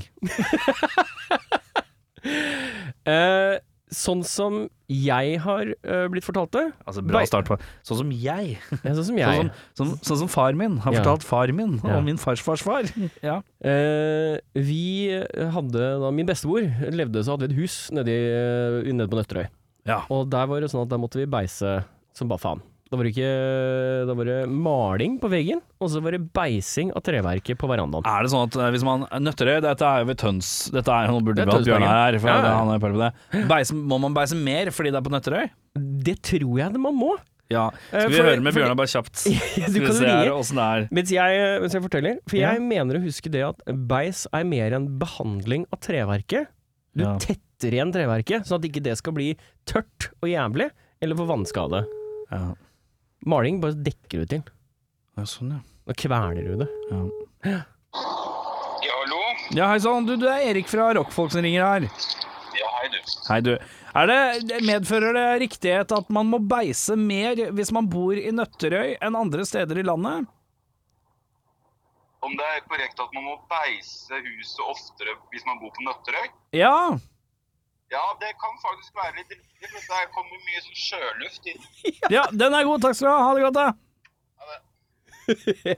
B: Eh, sånn som jeg har eh, blitt fortalt det.
A: Altså,
B: Bei-
A: bra start på Sånn som jeg.
B: Ja, Sånn som
A: Sånn
B: jeg.
A: som, sånn, sånn som far min har
B: Ja.
A: fortalt far min
B: Ja.
A: og min farsfars far. Ja.
B: Eh, vi hadde da Min bestemor levde så hadde vi et hus nedi, eh, nede på Nøtterøy.
A: Ja.
B: Og der var det sånn at der måtte vi beise som bare faen. Da var, det ikke, da var det maling på veggen, og så var det beising av treverket på verandaen.
A: Er det sånn at eh, hvis man Nøtterøy, dette er jo ved Tøns Dette er, Nå burde
B: Det er
A: vi hatt Bjørnar her, for
B: Ja, ja.
A: han er perle på det. Beise, må man beise mer fordi det er på Nøtterøy?
B: Det tror jeg det man må. Eh,
A: Ja. Skal vi
B: for-
A: høre med
B: for-
A: Bjørnar bare kjapt?
B: Du
A: Skal vi
B: kan
A: se her
B: ringe.
A: åssen det er.
B: Mens jeg, mens jeg forteller, for
A: Ja.
B: jeg mener å huske det at beis er mer en behandling av treverket. Du
A: Ja.
B: tetter igjen treverket, sånn at ikke det skal bli tørt og jævlig, eller få vannskade.
A: Ja.
B: Maling bare dekker du til.
A: Ja, sånn, ja.
B: Da kverner du det.
C: Ja, hallo?
A: Ja, hei sann. Du, du er Erik fra Rockfolk som ringer her.
C: Ja, hei, du.
A: Hei, du. Er det, medfører det riktighet at man må beise mer hvis man bor i Nøtterøy enn andre steder i landet?
C: Om det er korrekt at man må beise huset oftere hvis man bor på Nøtterøy?
A: Ja.
C: Ja, det kan faktisk være litt riktig, men der kommer mye sånn sjøluft inn.
A: ja. Den er god. Takk skal du ha. Ha det godt, da.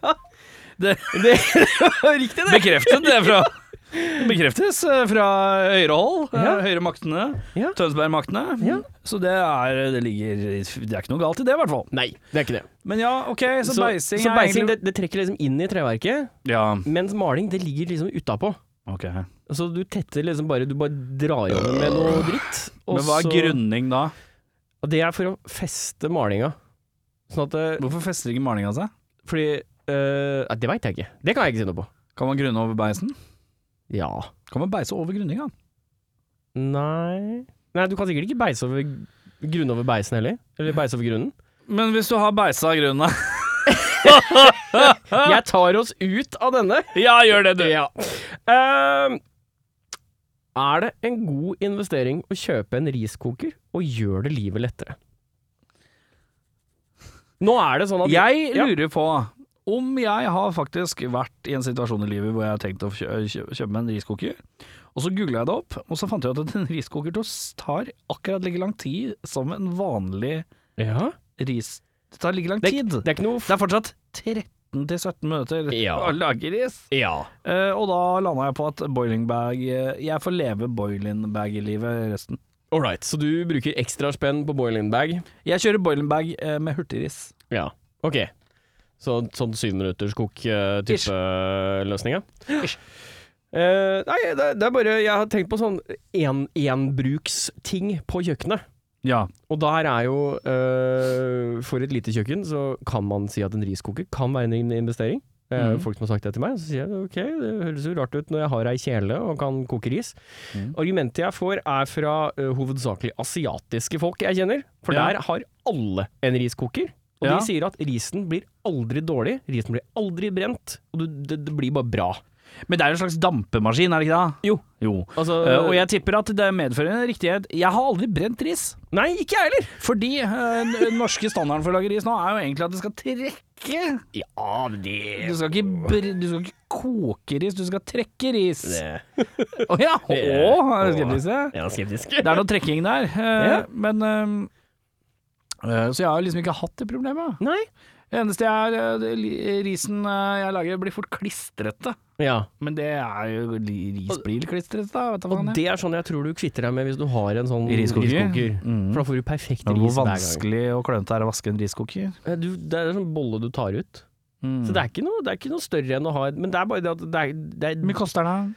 B: Ja,
A: Det
B: det var riktig, det.
A: bekreftet det fra Bekreftes eh, fra høyre hold. eh,
B: Ja.
A: Høyre maktene.
B: Ja.
A: Tønsbergmaktene.
B: Ja.
A: Så det er Det ligger Det er ikke noe galt i det, i hvert fall.
B: Nei, det er ikke det.
A: Men ja, OK, så, beising
B: så
A: er
B: beising
A: egentlig
B: det, det trekker liksom inn i treverket,
A: Ja,
B: mens maling det ligger liksom utapå.
A: OK.
B: Så du tetter liksom bare Du bare drar over med noe dritt. og
A: Men hva er
B: så-
A: grunning da?
B: Og det er for å feste malinga. Sånn at det,
A: Hvorfor fester ikke malinga seg?
B: Fordi eh, nei, Det veit jeg ikke. Det kan jeg ikke si noe på.
A: Kan man grunne over beisen?
B: Ja.
A: Kan man beise over grunninga?
B: Nei Nei, du kan sikkert ikke beise over grunne over beisen heller. Eller beise over grunnen.
A: Men hvis du har beisa av grunna
B: Jeg tar oss ut av denne.
A: Ja, gjør det, du!
B: Ja. Ehm, er det en god investering å kjøpe en riskoker, og gjør det livet lettere? Nå er det sånn at
A: Jeg
B: Ja.
A: lurer på om jeg har faktisk vært i en situasjon i livet hvor jeg har tenkt å kjø kjø kjøpe meg en riskoker. Og så googla jeg det opp, og så fant jeg ut at en riskoker tos- tar akkurat like lang tid som en vanlig
B: ja.
A: ris... Det tar like lang
B: det,
A: tid.
B: det er ikke noe f
A: Det er fortsatt 13 til 17 minutter
B: Ja.
A: å lage ris.
B: Ja.
A: Eh, og da landa jeg på at boiling bag eh, Jeg får leve boiling bag-livet resten.
B: All right, så du bruker ekstra spenn på boiling bag?
A: Jeg kjører boiling bag eh, med hurtigris.
B: Ja. Ok. Så, sånn eh,
A: Ish.
B: syvminutterskok-type løsninga? Eh, nei, det, det er bare Jeg har tenkt på sånn en, enbruksting på kjøkkenet.
A: Ja.
B: Og der er jo øh, For et lite kjøkken så kan man si at en riskoker kan være en investering. Det er jo
A: Mhm.
B: folk som har sagt det til meg, så sier jeg ok, det høres jo rart ut når jeg har ei kjele og kan koke ris.
A: Mhm.
B: Argumentet jeg får er fra øh, hovedsakelig asiatiske folk jeg kjenner, for
A: Ja.
B: der har alle en riskoker. Og
A: Ja.
B: de sier at risen blir aldri dårlig, risen blir aldri brent, og du, det, det blir bare bra.
A: Men det er jo en slags dampemaskin, er det ikke det?
B: Jo.
A: jo.
B: Altså,
A: Eh, og jeg tipper at det medfører en riktighet. Jeg har aldri brent ris.
B: Nei, ikke jeg heller!
A: Fordi eh, den norske standarden for å lage ris nå er jo egentlig at det skal trekke.
B: Ja, det,
A: Du skal ikke, br du skal ikke koke ris, du skal trekke ris.
B: det
A: Å ja! Å,
B: Det-
A: er det skeptisk, det?
B: Jeg er skeptisk.
A: Det er noe trekking der. eh,
B: Ja.
A: Men eh, eh, Så jeg har liksom ikke hatt det problemet.
B: Nei.
A: Det eneste jeg er, eh, det- li- risen eh, jeg lager, blir fort klistrete.
B: Ja.
A: Men det er jo li- Ris blir klistrete, da. Vet du hva
B: Og
A: faen jeg.
B: det er sånn jeg tror du kvitter deg med hvis du har en sånn
A: Mm. Riskoker? Mm.
B: For da får du perfekt
A: Men
B: ris
A: Hvor
B: hver gang.
A: vanskelig og klønete er å vaske en riskoker?
B: Eh, Du, det er en sånn bolle du tar ut.
A: Mm.
B: Så det er, ikke noe, det er ikke noe større enn å ha et Men det er bare det at det er, det
A: Hvor mye
B: er
A: koster den?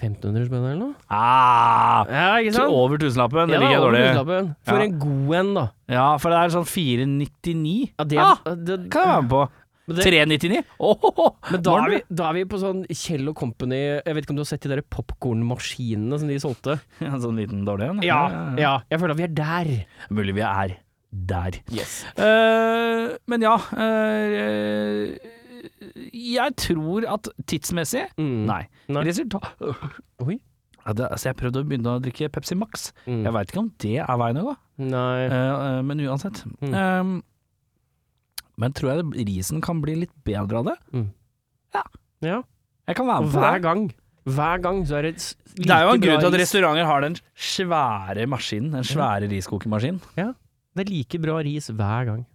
B: 1500 spenn eller noe?
A: Ah,
B: Ja, ikke
A: til over tusenlappen. Det
B: Ja,
A: liker jeg
B: over
A: dårlig.
B: tusenlappen. For
A: Ja.
B: en god en, da.
A: Ja, for det er sånn 499.
B: Ja, det,
A: Ah, kan jeg
B: det,
A: være med på.
B: men det-
A: 399? Åhåhå!
B: men da
A: Var
B: er, vi,
A: det?
B: da er vi på sånn Kjell og Company Jeg vet ikke om du har sett de der popkornmaskinene som de solgte?
A: En sånn liten dårlig en.
B: Ja, ja. Jeg føler at vi er der.
A: Mulig vi er der.
B: Yes.
A: Eh, men ja eh, Jeg tror at tidsmessig
B: Mm.
A: Nei.
B: Nei.
A: Resultat
B: Oi.
A: Ja, det, altså jeg prøvde å begynne å drikke Pepsi Max.
B: Mm.
A: Jeg veit ikke om det er veien å gå,
B: Nei.
A: eh, eh, men uansett.
B: Mm.
A: Eh, men tror jeg det- risen kan bli litt bedre av det?
B: Mm. Ja.
A: Jeg kan være
B: Og
A: med på
B: hver
A: det.
B: gang, hver gang så er det s- like
A: Det er jo en grunn
B: bra
A: til at
B: ris.
A: restauranter har den svære maskinen, den svære riskokemaskinen.
B: Det er like bra ris hver gang.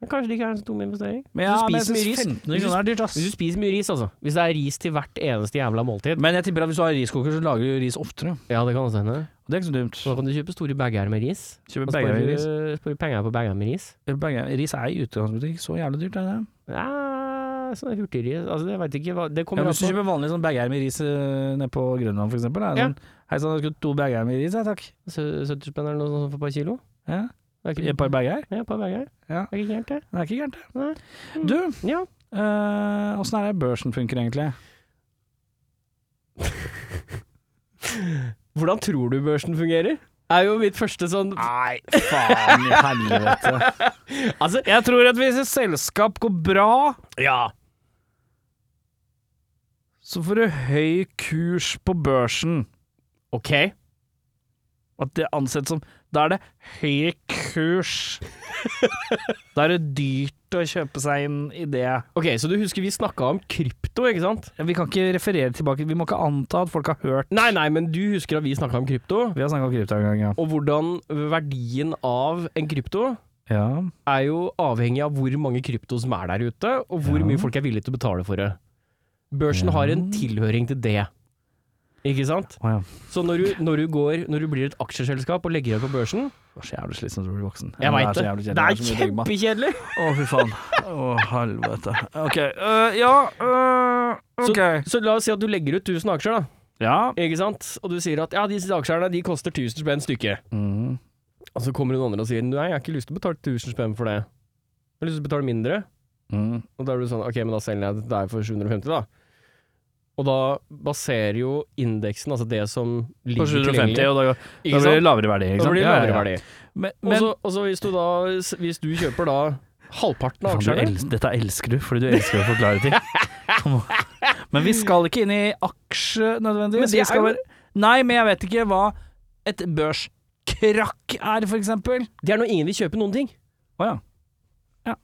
B: Men kanskje det ikke er en så dum investering?
A: Men
B: Hvis
A: ja,
B: du
A: men jeg
B: spiser mye
A: synes
B: ris-
A: 1500
B: hvis du-
A: kroner er dyrt, ass.
B: Hvis du spiser mye ris, altså. Hvis det er ris til hvert eneste jævla måltid.
A: Men jeg tipper at hvis du har riskoker, så lager du ris oftere.
B: Ja, det kan også hende.
A: Og det er ikke så dumt.
B: Så da kan du kjøpe store bager med ris.
A: Kjøper
B: Og
A: begge
B: sparer
A: veier ris.
B: du- sparer du penger på bager med ris.
A: Begge- Ris er i utgangspunktet ikke så jævlig dyrt, er det det?
B: Ja, sånn hurtigris Altså, jeg veit ikke hva Det
A: Ja,
B: kommer
A: hvis du
B: an på.
A: kjøper vanlig sånn bager med ris eh, nede på Grønland, for eksempel. Er det
B: Ja.
A: sånn, Hei sann, jeg skulle to bager med ris, ja, takk.
B: Sø- 70 spenn eller noe sånt for et par kilo?
A: Ja.
B: Det er
A: Et
B: ikke,
A: par bager?
B: ja, et par bager.
A: Ja.
B: Det er ikke gærent, det.
A: Det er ikke gærent,
B: Nei. Mm.
A: det. Du, eh,
B: Ja.
A: åssen er det børsen funker egentlig?
B: Hvordan tror du børsen fungerer? Er jo mitt første sånn
A: Nei, faen i helvete.
B: Altså,
A: Jeg tror at hvis et selskap går bra,
B: ja.
A: så får du høy kurs på børsen.
B: OK.
A: At det ansettes som Da er det høy kurs. da er det dyrt å kjøpe seg inn i det.
B: Ok, Så du husker vi snakka om krypto, ikke sant?
A: Vi kan ikke referere tilbake. Vi må ikke anta at folk har hørt
B: Nei, nei, men du husker at vi snakka om krypto.
A: Vi har snakka om krypto en gang, ja.
B: Og hvordan verdien av en krypto
A: ja.
B: er jo avhengig av hvor mange krypto som er der ute, og hvor
A: Ja.
B: mye folk er villige til å betale for det. Børsen
A: Ja.
B: har en tilhøring til det. Ikke sant?
A: Å ja.
B: Så når du, når du, går, når du blir et aksjeselskap og legger deg på børsen
A: Det var så jævlig slitsomt å bli voksen.
B: Jeg
A: Ja,
B: veit
A: så
B: det.
A: jævlig kjedelig.
B: Det er
A: så mye å tenke på.
B: kjempekjedelig!
A: Å, fy faen. Å, helvete. Ok. øh, ja øh, Ok.
B: Så la oss si at du legger ut 1000 aksjer, da.
A: ja.
B: Ikke sant? Og du sier at ja, disse aksjene de koster 1000 spenn stykket.
A: Mm.
B: Og så kommer hun andre og sier Nei, jeg har ikke lyst til å betale 1000 spenn for det. Jeg har lyst til å betale mindre.
A: Mm.
B: Og da er du sånn Ok, men da selger jeg det der for 750, da. Og da baserer jo indeksen, altså det som ligger
A: På 750,
B: tilgjengelig
A: og da, da blir
B: Ikke
A: det
B: sant?
A: lavere verdi. Ikke
B: Da
A: sant?
B: blir det
A: Ja, ja,
B: lavere
A: ja.
B: verdi.
A: Men,
B: Og
A: men
B: så- Og så hvis du da Hvis du kjøper da halvparten av
A: Faen, du
B: aksjene
A: els- dette elsker du, fordi du elsker å forklare ting. men vi skal ikke inn i aksje
B: Men
A: nødvendigvis.
B: det
A: Vi skal
B: er jo-
A: bare- Nei, men jeg vet ikke hva et børskrakk er, for eksempel.
B: Det er når ingen vil kjøpe noen ting.
A: Å ja.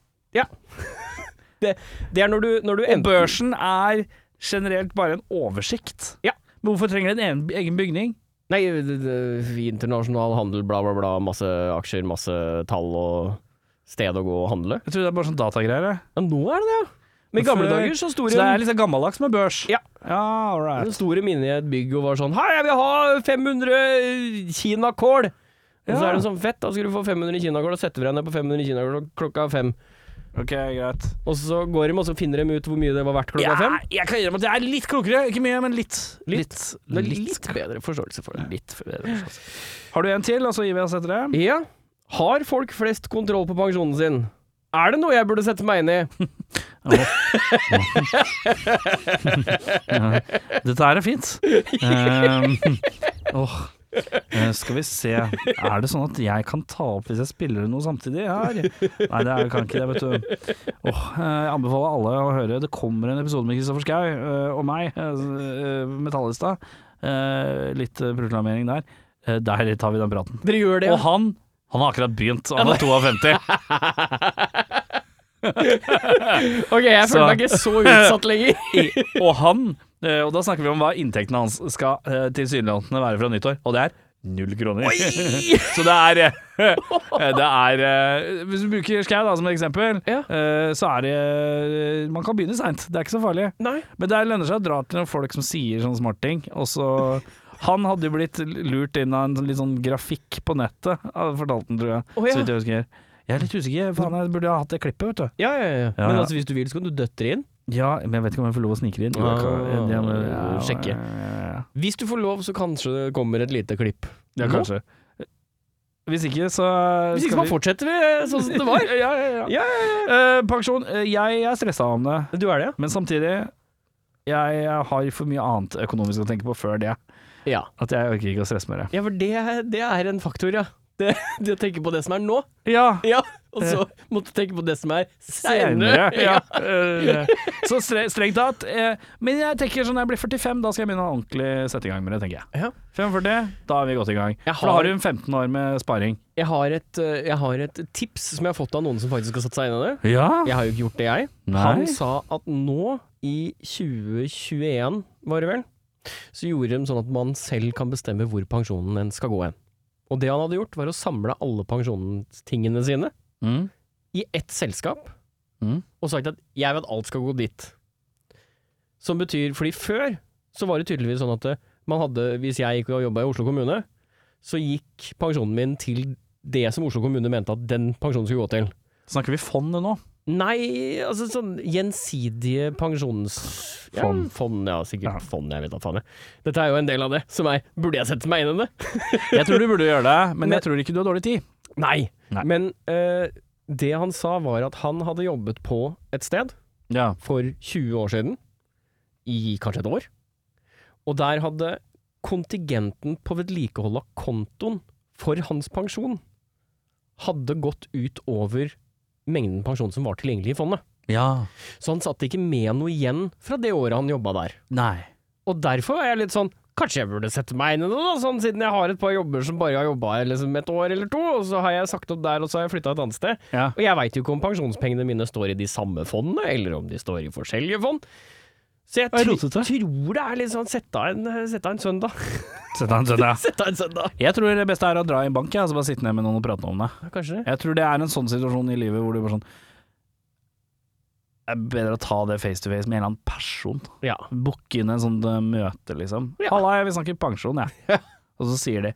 B: Det er når du, når du
A: Og
B: enten
A: børsen er generelt bare en oversikt.
B: Ja.
A: Men hvorfor trenger det en egen- egen bygning?
B: Nei, det- det- internasjonal handel, bla, bla, bla. Masse aksjer, masse tall og sted å gå og handle.
A: Jeg tror det er bare sånn datagreier. jeg.
B: Ja, nå er det det, ja. Men i
A: Men
B: gamle
A: før-
B: dager så sto
A: Så det er
B: det
A: liksom gammeldags med børs?
B: Ja.
A: Ja, all right.
B: Den store minne i et bygg og var sånn Hei, jeg vil ha 500 kinakål! Og så
A: Ja.
B: er det sånn fett, da skal du få 500 kinakål, og setter vi deg ned på 500 kinakål klokka fem.
A: Ok, greit.
B: Og så går de, og så finner de ut hvor mye det var verdt klokka
A: Ja,
B: fem.
A: jeg kan innrømme at jeg er litt klokere. Ikke mye, men litt.
B: Litt. Det er
A: litt.
B: litt bedre forståelse for det. Litt bedre forståelse.
A: Har du en til, og så gir vi oss etter det?
B: Ja. Har folk flest kontroll på pensjonen sin? Er det noe jeg burde sette meg inn i?
A: Dette her er fint. Ehm, åh. Eh, skal vi se Er det sånn at jeg kan ta opp hvis jeg spiller noe samtidig her? Nei, det er, kan ikke det, vet du. Åh, eh, jeg anbefaler alle å høre. Det kommer en episode med Kristoffer Schau eh, og meg, uh, metallista. Eh, litt uh, proklamering der. Eh, der tar vi den praten.
B: Dere gjør
A: Og han, han har akkurat begynt. Han er 52.
B: Ok, jeg
A: Så-
B: føler meg ikke så utsatt lenger.
A: I- og han eh, Og da snakker vi om hva inntektene hans skal eh, tilsynelatende være fra nyttår, og det er null kroner. så det er eh, Det er eh, Hvis du bruker Skau da som et eksempel,
B: Ja.
A: eh, så er det eh, Man kan begynne seint, det er ikke så farlig.
B: Nei.
A: Men det lønner seg å dra til noen folk som sier sånne smartting, og så han hadde jo blitt lurt inn av en sånn- litt sånn grafikk på nettet, hadde fortalt den, tror jeg.
B: Å, ja.
A: Så vidt jeg husker. Jeg er litt usikker, faen, jeg burde ha hatt det klippet, vet du.
B: Ja, ja, ja.
A: Ja,
B: Men
A: ja.
B: altså, hvis du vil, så kan du døtte det inn.
A: Ja, men jeg vet ikke om jeg får lov å snike det inn. Jo,
B: Ah,
A: jeg kan- det må- ja,
B: sjekke.
A: ja, ja, ja.
B: Hvis du får lov, så kanskje det kommer et lite klipp.
A: Ja,
B: Nå?
A: kanskje. Hvis ikke, så
B: Hvis
A: skal
B: ikke, så
A: vi-
B: fortsetter vi sånn som det var.
A: ja, ja, ja. Eh, pensjon. eh, Jeg er stressa om det,
B: Du er det?
A: men samtidig jeg har for mye annet økonomisk å tenke på før det.
B: Ja.
A: At jeg orker ikke å stresse med det.
B: Ja, for det, det er en faktor, ja. Det, det å tenke på det som er nå,
A: Ja,
B: ja. og så måtte tenke på det som er seinere.
A: senere. Ja. Eh, Så stre strengt tatt. eh, Men jeg tenker sånn når jeg blir 45, da skal jeg begynne å ordentlig sette i gang med det, tenker jeg.
B: Ja.
A: 45, da er vi godt i gang.
B: Jeg
A: For da har
B: har-
A: du 15 år med sparing.
B: Jeg, har et, eh, jeg har et tips som jeg har fått av noen som faktisk har satt seg inn i det.
A: Ja.
B: Jeg har jo ikke gjort det, jeg.
A: Nei.
B: Han sa at nå, i 2021, var det vel, så gjorde de sånn at man selv kan bestemme hvor pensjonen en skal gå hen. Og det han hadde gjort, var å samle alle pensjonstingene sine
A: Mm.
B: i ett selskap
A: Mm.
B: og sagt at jeg vil at alt skal gå dit. Som betyr Fordi før så var det tydeligvis sånn at eh, man hadde Hvis jeg gikk og jobba i Oslo kommune, så gikk pensjonen min til det som Oslo kommune mente at den pensjonen skulle gå til.
A: Snakker vi fond nå?
B: Nei, altså sånn gjensidige pensjons... Ja,
A: Fond.
B: fond, ja, sikkert fond, jeg vet da faen. jeg. Dette er jo en del av det, som er Burde jeg sette meg inn i det?
A: Jeg tror du burde gjøre det, men
B: Men-
A: jeg tror ikke du har dårlig tid.
B: Nei.
A: Nei.
B: Men eh, det han sa, var at han hadde jobbet på et sted
A: Ja.
B: for 20 år siden, i kanskje et år, og der hadde kontingenten på vedlikehold av kontoen for hans pensjon hadde gått ut over mengden pensjon som var tilgjengelig i fondet.
A: ja.
B: Så han satt ikke med noe igjen fra det året han jobba der.
A: Nei.
B: Og derfor er jeg litt sånn Kanskje jeg burde sette meg inn i det, da, sånn siden jeg har et par jobber som bare har jobba liksom et år eller to, og så har jeg sagt opp der, og så har jeg flytta et annet sted.
A: Ja.
B: Og jeg veit jo ikke om pensjonspengene mine står i de samme fondene, eller om de står i forskjellige fond. Så jeg
A: Det er
B: tro,
A: rotete.
B: tror det er litt sånn sett av en, sett av en søndag. sett av en søndag.
A: Jeg tror det beste er å dra i en bank ja, og så bare sitte ned med noen og prate om det.
B: Ja, Kanskje det.
A: Jeg tror det er en sånn situasjon i livet hvor du bare sånn Det er bedre å ta det face to face med en eller annen person.
B: Ja.
A: Booke inn en sånn eh, møte, liksom.
B: Ja.
A: 'Halla, jeg vil snakke pensjon, jeg.' Og så sier de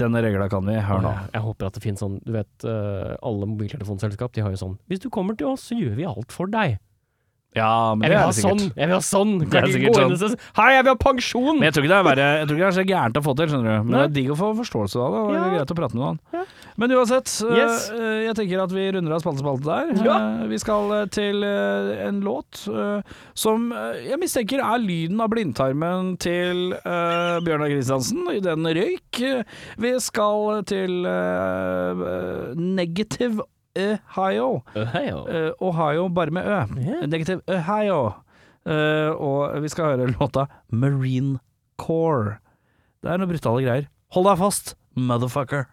A: 'Denne regla kan vi, hør nå'.
B: Jeg håper at det finnes sånn, du vet, eh, alle mobiltelefonselskap de har jo sånn Hvis du kommer til oss, så gjør vi alt for deg.
A: Ja, men
B: Jeg
A: det
B: vil
A: er
B: ha
A: det sikkert.
B: sånn! Jeg vil ha sånn!
A: Det er
B: Kan ikke
A: sikkert
B: gå inn og si, Hei, jeg vil ha pensjon!
A: Men jeg tror ikke det er, verre, jeg tror ikke det er så gærent å få til, skjønner du. Men det
B: Nei.
A: er digg å få forståelse av det, og det er
B: Ja.
A: greit å prate med noen. Men uansett, øh,
B: Yes.
A: øh, jeg tenker at vi runder av spalte-spalte der.
B: Ja.
A: Eh, Vi skal eh, til eh, en låt eh, som eh, jeg mistenker er lyden av blindtarmen til eh, Bjørnar Kristiansen. I den røyk. Vi skal til eh, eh, Negative Ohio. Eh, Ohio, bare med Ø.
B: Ja.
A: Negativ Ohio. Eh, og vi skal høre låta Marine Core. Det er noen brutale greier. Hold deg fast, motherfucker.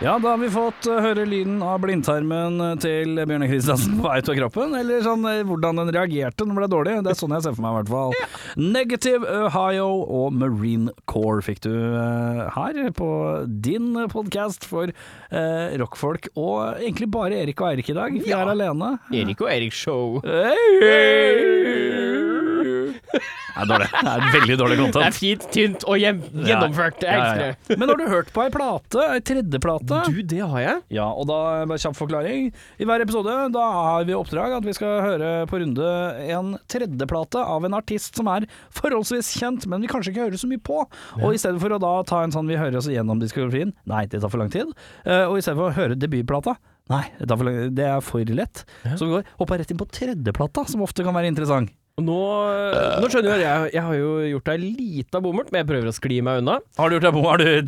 A: Ja, da har vi fått eh, høre lyden av blindtarmen eh, til Bjørne Kristiansen på vei ut av kroppen, eller sånn eh, hvordan den reagerte når den ble dårlig. Det er sånn jeg ser for meg i hvert fall. Negative Ohio og Marine Corps fikk du eh, her på din podkast for eh, rockfolk, og egentlig bare Erik og Eirik i dag. Vi
B: Ja.
A: er alene.
B: Erik og Erik Show.
A: Det er dårlig. Det er veldig dårlig
B: Det er
A: content.
B: fint, tynt og gjem- gjennomført. Jeg
A: Ja, ja,
B: elsker det.
A: ja. Men har du hørt på ei plate? Ei tredjeplate?
B: Du, det har jeg.
A: Ja, og da bare kjapp forklaring. I hver episode da har vi oppdrag at vi skal høre på runde en tredjeplate av en artist som er forholdsvis kjent, men vi kanskje ikke hører så mye på. Og i stedet for å da ta en sånn vi hører oss gjennom diskografien, nei, det tar for lang tid. Eh, Og i stedet for å høre debutplata, nei, det, tar for lang, det er for lett. Så vi går hoppa rett inn på tredjeplata, som ofte kan være interessant.
B: Og Nå, eh, nå skjønner du at jeg, jeg har jo gjort deg lita bommert, men jeg prøver å skli meg unna.
A: Har du gjort deg bom? Har du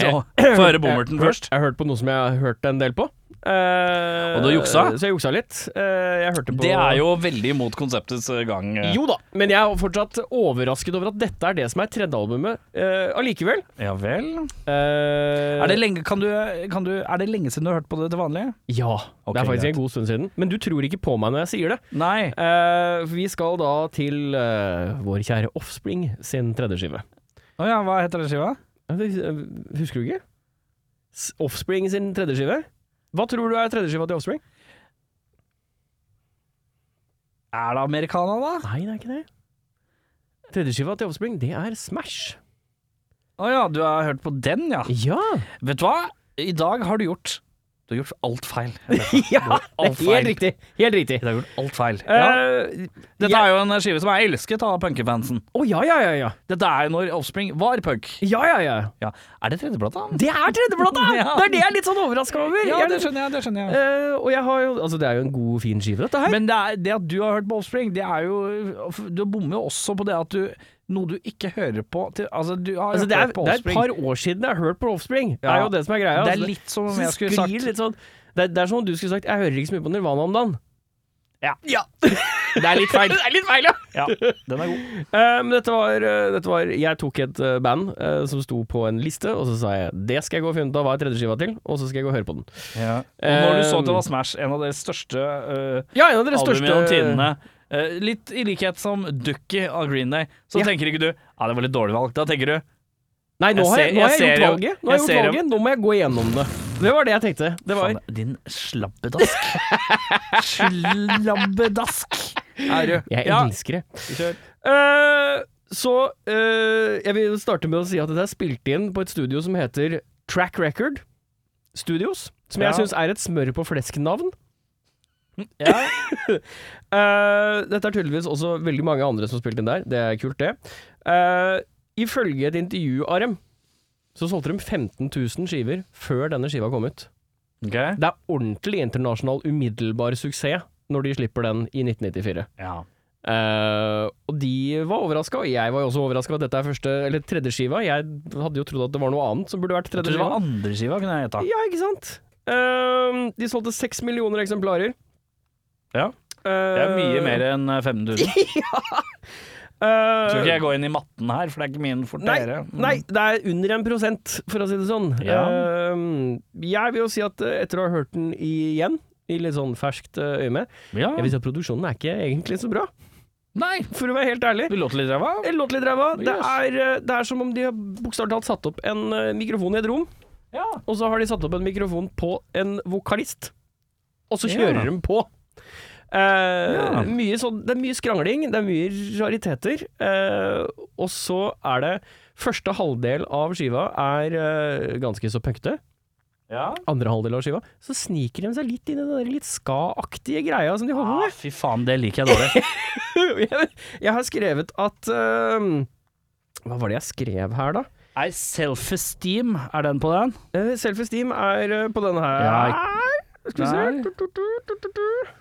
A: Få høre bommerten
B: Jeg-
A: først?
B: Jeg har hørt på noe som jeg har hørt en del på. Eh,
A: Og du har juksa?
B: Så jeg juksa litt. Eh, jeg hørte på
A: Det er jo veldig imot konseptets gang. eh.
B: Jo da, men jeg er fortsatt overrasket over at dette er det som er tredje albumet eh, allikevel.
A: Ja vel.
B: Eh,
A: Er det, lenge, kan du, kan du, er det lenge siden du har hørt på det til vanlig?
B: Ja.
A: Ok,
B: det er faktisk
A: greit.
B: en god stund siden. Men du tror ikke på meg når jeg sier det.
A: Nei.
B: Eh, vi skal da til eh, vår kjære Offspring sin tredje skive.
A: Å ja, hva heter den skiva?
B: Ja, det- eh, Husker du ikke? S- Offspring sin tredje skive? Hva tror du er tredje skiva til Offspring?
A: Er det Americana, da?
B: Nei, det er ikke det. Tredje skiva til Offspring, det er Smash.
A: Å ja, du har hørt på den, ja.
B: Ja!
A: Vet du hva? I dag har du gjort Du har gjort alt feil.
B: ja det er
A: Alt feil.
B: helt riktig. Helt riktig.
A: Du har gjort alt feil.
B: Eh,
A: Ja. Dette
B: jeg-
A: er jo en skive som er elsket av punkefansen.
B: Å ja, ja, ja, ja.
A: Dette er jo når Offspring var punk.
B: Ja, ja, ja.
A: Ja. Er det tredjeplata?
B: Det er tredjeplata!
A: Ja.
B: Det er det jeg er litt sånn overraska over.
A: Ja,
B: Jeg-
A: det skjønner jeg. det skjønner jeg
B: Eh, og jeg har jo Altså, det er jo en god, fin skive, dette her.
A: Men det, er, det at du har hørt på Offspring, det er jo Du bommer jo også på det at du Noe du ikke hører på til, Altså, du har
B: altså, det, er,
A: hørt på
B: det er et
A: Offspring.
B: par år siden jeg har hørt på Offspring. Det
A: Ja.
B: er jo det som er greia.
A: Det
B: altså.
A: er litt som om
B: Så
A: jeg skulle
B: sklir
A: sagt
B: litt sånn, det, er, det er som om du skulle sagt 'jeg hører ikke så mye på Nirvana om dagen'.
A: Ja.
B: det er litt feil. det er litt feil, ja.
A: Ja, den er god.
B: Eh, men dette var, eh, dette var Jeg tok et eh, band eh, som sto på en liste, og så sa jeg 'det skal jeg gå og finne ut av hva er tredjeskiva til', og så skal jeg gå og høre på den.
A: Og når du så
B: Um,
A: at det var Smash, en av deres største uh,
B: Ja, en av deres
A: albumet
B: største
A: gjennom tidene eh, Litt i likhet som Ducky av Green Day, så
B: Ja.
A: tenker ikke du Ja, det var litt dårlig valg. Da tenker du
B: Nei, nå
A: Jeg
B: har jeg,
A: ser- jeg
B: nå har jeg, gjort
A: ser jo-
B: valget. Nå, har jeg
A: jeg
B: gjort
A: ser jo-
B: valget. nå må jeg gå igjennom det. Det var det jeg tenkte. Det var
A: Faen, din slabbedask. slabbedask. Er du?
B: Jeg
A: Ja.
B: elsker det.
A: Kjør.
B: Eh, så eh, jeg vil starte med å si at dette er spilt inn på et studio som heter Track Record Studios. Som
A: Ja.
B: jeg syns er et smør på flesken-navn.
A: Ja.
B: Eh, dette er tydeligvis også veldig mange andre som har spilt inn der. Det er kult, det. Eh, ifølge et intervju av dem, så solgte de 15 000 skiver før denne skiva kom ut.
A: Ok.
B: Det er ordentlig internasjonal umiddelbar suksess når de slipper den i 1994.
A: Ja.
B: Eh, og de var overraska, og jeg var jo også overraska over at dette er første, eller tredje skiva. Jeg hadde jo trodd at det var noe annet som burde vært
A: Jeg tror
B: tredje
A: det var
B: skiva.
A: andre skiva, kunne jeg gjetta.
B: Ja, ikke sant? Eh, de solgte seks millioner eksemplarer. Eh,
A: Ja. Det er mye mer enn eh, 5000. Skal ikke jeg gå inn i matten her, for det er ikke min
B: Nei,
A: fortere.
B: nei, det er under en prosent, for å si det sånn.
A: Ja.
B: Eh, jeg vil jo si at eh, etter å ha hørt den igjen, i litt sånn ferskt eh, øye med
A: Ja.
B: Jeg vil si at produksjonen er ikke egentlig så bra,
A: Nei.
B: for å være helt ærlig.
A: Du låter litt ræva.
B: En låt litt ræva. Det,
A: Yes.
B: er, eh, det er som om de har bokstavelig talt satt opp en eh, mikrofon i et rom,
A: Ja.
B: og så har de satt opp en mikrofon på en vokalist, og så
A: Ja.
B: kjører de på. Eh,
A: Ja.
B: mye sånn, det er mye skrangling, det er mye rariteter. eh, og så er det Første halvdel av skiva er eh, ganske så punkte.
A: ja.
B: Andre halvdel av skiva Så sniker de seg litt inn i den der litt ska-aktige greia som de holder på med.
A: Ah, fy faen, det liker jeg dårlig.
B: jeg, jeg har skrevet at øhm, Hva var det jeg skrev her, da?
A: Er self-esteem, er den på den?
B: Eh, Self-esteem er øh, på denne her.
A: Ja,
B: Skal vi
A: Nei.
B: se Tu, tu, tu, tu, tu, tu.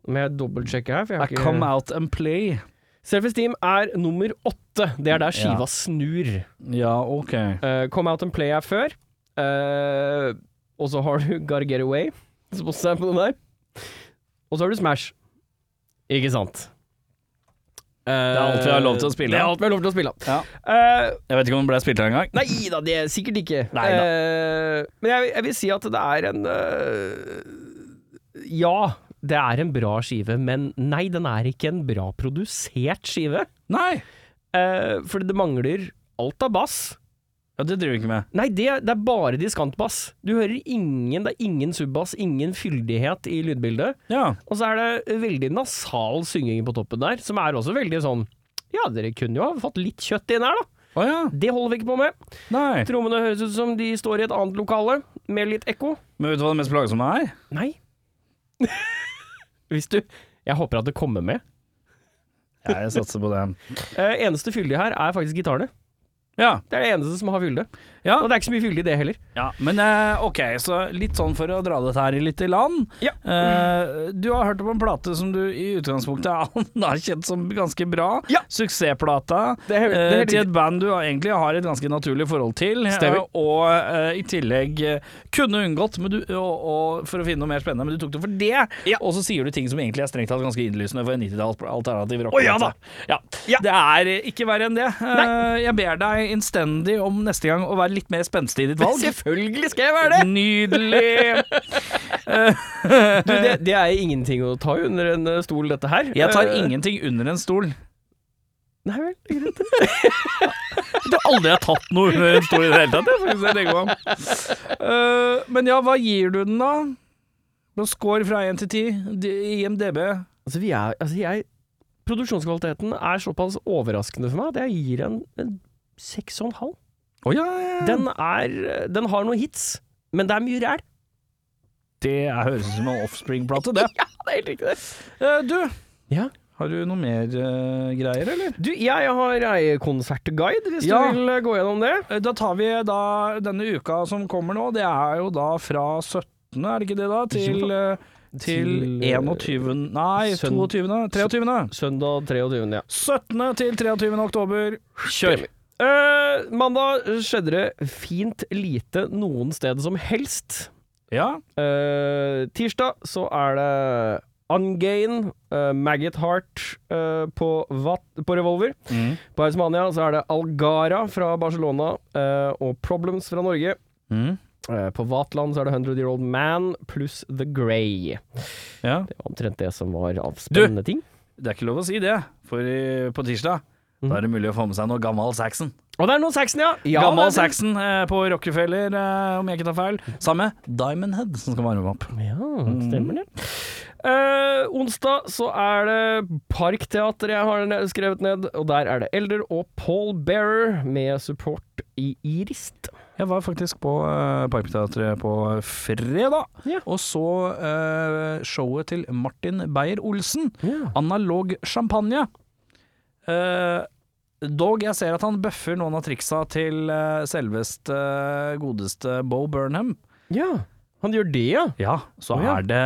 B: Nå må jeg dobbeltsjekke her. For jeg
A: I
B: har ikke...
A: come out and play.
B: Self-esteem er nummer åtte. Det er der skiva
A: Ja.
B: snur.
A: Ja, ok.
B: Eh, come Out and Play er før. Eh, og så har du Gotta Get Away, som også er på den der. Og så har du Smash. Ikke sant.
A: Det er alt vi har lov til å spille.
B: Eh, Det er alt vi har lov til å spille.
A: Ja.
B: Eh,
A: Jeg vet ikke om den ble spilt her engang.
B: nei da, det er sikkert ikke.
A: Nei da.
B: Eh, men jeg, jeg vil si at det er en eh, Ja, det er en bra skive, men nei, den er ikke en bra produsert skive.
A: Nei!
B: Eh, for det mangler alt av bass.
A: Ja, det driver vi ikke med.
B: Nei, det, det er bare diskantbass. Du hører ingen, det er ingen subbass, ingen fyldighet i lydbildet.
A: Ja.
B: Og så er det veldig nasal synging på toppen der, som er også veldig sånn Ja, dere kunne jo ha fått litt kjøtt inn her, da.
A: Å ja.
B: Det holder vi ikke på med.
A: Nei.
B: Trommene høres ut som de står i et annet lokale, med litt ekko.
A: Men vet du hva det mest plagsomme er?
B: Nei. Hvis du Jeg håper at det kommer med.
A: Ja, jeg satser på det.
B: Eh, eneste fyldige her er faktisk gitarene.
A: Ja.
B: Det er det eneste som har fylde.
A: Ja.
B: Og det er ikke så mye fylde i det heller.
A: Ja, men eh, ok, så litt sånn for å dra dette her litt i land.
B: Ja.
A: Eh, du har hørt om en plate som du i utgangspunktet har kjent som ganske bra.
B: Ja.
A: Suksessplata
B: Det er helt- det er
A: eh,
B: helt
A: til
B: riktig.
A: et band du egentlig har et ganske naturlig forhold til. eh,
B: Stemmer.
A: og eh, i tillegg eh, kunne unngått men du, og, og, for å finne noe mer spennende, men du tok det for det. Og så sier du ting som egentlig er strengt tatt ganske innlysende for en 90-tallsalternativ rock.
B: Å, ja da.
A: Ja.
B: Ja.
A: Det er eh, ikke verre enn det. Eh, jeg ber deg innstendig om neste gang å være litt mer spenstig i ditt valg.
B: Selvfølgelig skal jeg være det!
A: Nydelig!
B: Du, det, det er ingenting å ta under en eh, stol, dette her.
A: Jeg tar
B: Eh,
A: ingenting under en stol.
B: Nei vel, det er greit.
A: Jeg tror aldri jeg har tatt noe under en stol i det hele tatt. jeg, faktisk, jeg tenker meg om. Eh, men ja, hva gir du den, da? På score fra 1 til 10, D- IMDb
B: Altså, vi er, altså jeg, produksjonskvaliteten er såpass overraskende for meg at jeg gir en, en 6,5.
A: Å ja, ja, ja.
B: Den, er- eh, den har noen hits, men det er mye ræl.
A: Det er- høres ut som en offspring-plate, det.
B: Ja, det er helt riktig.
A: Eh, du,
B: Ja.
A: har du noe mer eh, greier, eller?
B: Du, jeg har ei konsertguide, hvis
A: Ja.
B: du vil eh, gå gjennom det.
A: Eh, Da tar vi da denne uka som kommer nå. Det er jo da fra 17., er det ikke det da? Til, eh, til
B: Til, eh,
A: 21. Nei,
B: søn-
A: 22. 23.
B: Søndag 23. Ja.
A: 17. til 23. oktober. Kjør!
B: Eh, mandag skjedde det fint lite noen sted som helst.
A: Ja.
B: Eh, tirsdag så er det Ungain, eh, Maggot Heart eh, på, Vat- på Revolver. På Hausmania så er det Algara fra Barcelona eh, og Problems fra Norge. Eh, på Vatland så er det 100 Year Old Man pluss The Grey.
A: ja.
B: Det var omtrent det som var av
A: Du!
B: spennende ting.
A: Det er ikke lov å si det, for i- på tirsdag da er det mulig å få med seg noe gammal Saxon.
B: Og det er noen Saxon, ja! ja
A: gammal
B: det er-
A: Saxon eh, på Rockefeller, eh, om jeg ikke tar feil. Sammen med Diamond Head, som skal varme opp.
B: Ja, stemmer det. Eh, onsdag så er det Parkteatret jeg har ne- skrevet ned, og der er det Elder og Paul Bearer med support i Irist.
A: Jeg var faktisk på uh, Parkteatret på fredag,
B: Ja.
A: og så eh, showet til Martin Beyer-Olsen.
B: Ja.
A: Analog champagne. Eh, dog, jeg ser at han bøffer noen av triksa til eh, selveste, eh, godeste Bo Burnham.
B: Han gjør det, ja?
A: Ja, så
B: Å, ja.
A: er det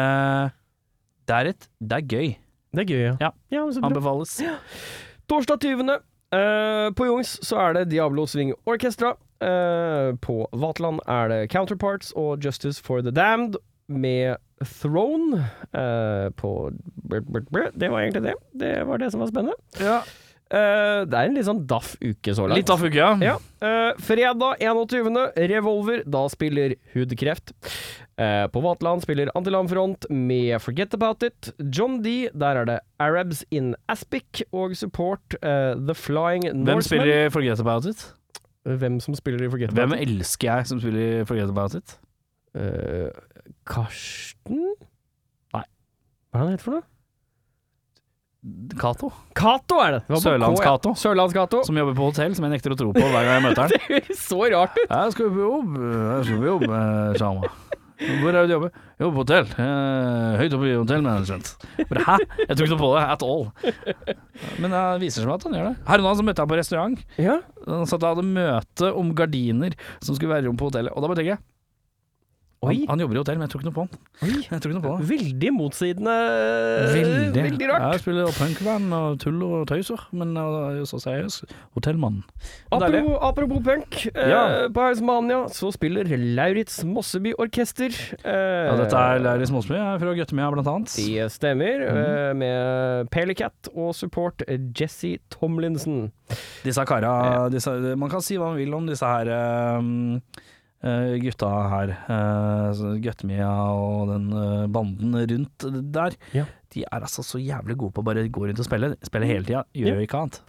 A: det er, et, det er gøy.
B: Det er gøy,
A: Ja.
B: men så bra.
A: Anbefales.
B: Torsdag 20. eh, på Jungs så er det Diablo Swing Orchestra. Eh, på Vaterland er det Counterparts og Justice for the Damned med Throne. eh, på brr, brr, brr. Det var egentlig det. Det var det som var spennende. Eh, det er en litt sånn daff uke så langt.
A: Litt av uke, ja.
B: Ja. Eh, fredag 21. Revolver. Da spiller Hudkreft. Eh, på Vaterland spiller Antilandfront med Forget About It. John D. Der er det Arabs in Aspic og support eh, The Flying
A: Hvem
B: Norsemen.
A: spiller i Forget About It?
B: Hvem som spiller i Forget
A: Hvem
B: About It?
A: elsker jeg som spiller i Forget About It?
B: Eh, Karsten
A: Nei.
B: Hva er det han heter for noe?
A: Cato.
B: Cato er det! det var på K, ja.
A: Sørlands-Cato.
B: Sørlands-Cato.
A: Som jobber på hotell, som jeg nekter å tro på hver gang jeg møter han.
B: Det høres så rart ut!
A: Jeg skal på jobb, jeg skal på jobb, eh, sa han. Hvor er det du jobber? Jobber på hotell. Eh, høyt oppe i hotellmanagement. Bare, Hæ? Jeg tror ikke noe på det at all. Men det viser seg at han gjør det. Her om dagen så møtte jeg ham på restaurant.
B: Ja.
A: Han satt og hadde møte om gardiner som skulle være i rom på hotellet. Og da bare tenker jeg Han,
B: Oi.
A: han jobber i hotell, men jeg tror ikke noe på han. Jeg tror ikke noe på han.
B: Veldig motsidende. Eh, Veldig
A: Ja,
B: rart.
A: jeg spiller punkband og tull og tøyser, men uh, så seriøs. Hotellmannen.
B: Eh.
A: Deilig.
B: Apropos, apropos punk. eh,
A: Ja.
B: På Hausmania så spiller Lauritz Mosseby Orkester. eh,
A: Ja, dette er Mhm. Lauritz Mosby jeg er fra Gøttemia, blant annet.
B: Det stemmer. eh, med Pelicat og support Jesse Tomlinson.
A: Disse kara disse, Man kan si hva man vil om disse her ehm, eh, gutta her. eh, så Gøttemia og den eh, banden rundt der.
B: Ja.
A: De er altså så jævlig gode på å bare gå rundt og spille. Spille hele tida, gjør jo ikke annet.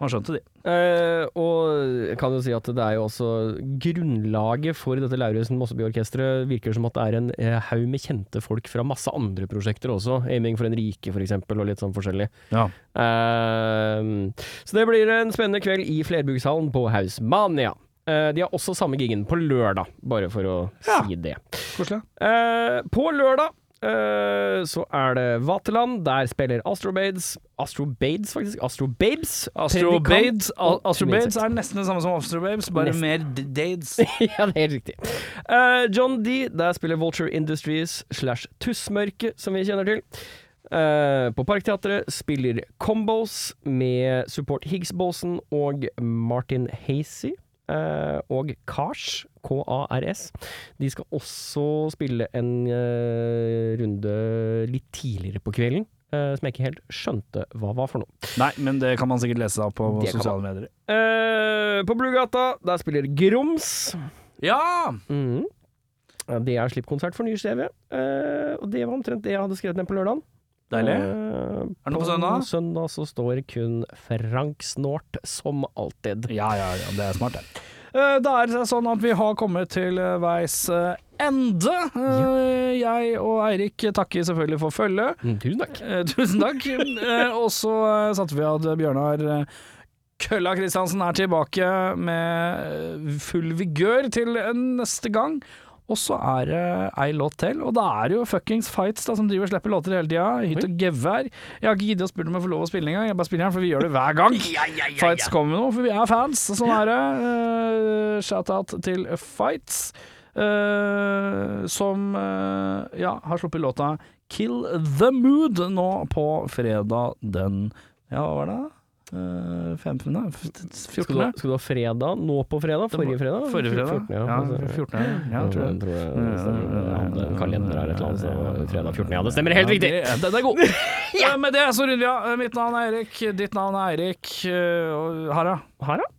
A: Man skjønte de.
B: Eh, og jeg kan jo si at det er jo også grunnlaget for dette Lauritzen Mosseby-orkesteret virker som at det er en eh, haug med kjente folk fra masse andre prosjekter også. Aiming for en rike, for eksempel, og litt sånn forskjellig.
A: Ja.
B: Ehm, så det blir en spennende kveld i flerbrukshallen på Hausmania. Eh, de har også samme giggen på lørdag, bare for å
A: Ja.
B: si det.
A: Koselig.
B: Eh, på lørdag eh, så er det Vaterland. Der spiller Astrobades Astrobades, faktisk. Astrobabes.
A: Astrobades
B: Predikant-
A: Astrobades er nesten det samme som Astrobabes, bare
B: Nesten.
A: mer d- dades.
B: ja, det er helt riktig. Eh, John D. Der spiller Vulture Industries slash Tussmørket, som vi kjenner til. Eh, på Parkteatret spiller Combos med support Higgs-Båsen og Martin Hazy. eh, og Kars, K-A-R-S. De skal også spille en eh, runde litt tidligere på kvelden, eh, som jeg ikke helt skjønte hva var for noe.
A: Nei, men det kan man sikkert lese seg opp på
B: Det kan
A: sosiale medier.
B: Eh, på Brugata, der spiller Grums.
A: Ja!
B: Mhm. Ja, Det er slippkonsert for nye Stevie. Eh, og det var omtrent det jeg hadde skrevet ned på lørdagen.
A: Deilig.
B: Eh,
A: det noe på søndag?
B: søndag så står kun Frank Snort, som alltid.
A: Ja, ja, ja, det er smart, det. Da er det sånn at vi har kommet til eh, veis eh, ende. Eh, Jeg og Eirik takker selvfølgelig for følget.
B: Mm, tusen takk.
A: Eh, Tusen takk. Eh, Og så eh, satte vi at Bjørnar eh, Kølla Kristiansen er tilbake med eh, full vigør til eh, neste gang. Og så er det ei låt til, og da er det jo fuckings Fights da, som driver og slipper låter hele tida. Hytt og gevær. Jeg har ikke giddet å spørre om jeg får lov å spille engang, jeg bare spiller den, for vi gjør det hver gang. Fights kommer med noe, for vi er fans. Sånn er det. Eh, Shout-out til Fights, eh, som eh, ja, har sluppet låta Kill The Mood nå på fredag den Ja, hva var det? Eh, 15. nei, f-
B: Skal du, ha,
A: 14.
B: skal du ha fredag nå på fredag? Forrige fredag?
A: Forrige fredag.
B: 14, ja.
A: Ja,
B: Altså,
A: 14. Ja, jeg tror det.
B: tror jeg det stemmer. Jeg hadde en kalender her et eller annet, så det var fredag 14. Ja, det stemmer helt riktig!
A: Ja, det- Den er god. Eh, Med det så runder vi av. Eh, Mitt navn er Eirik, ditt navn er Eirik. eh, og Harald.
B: Her, da?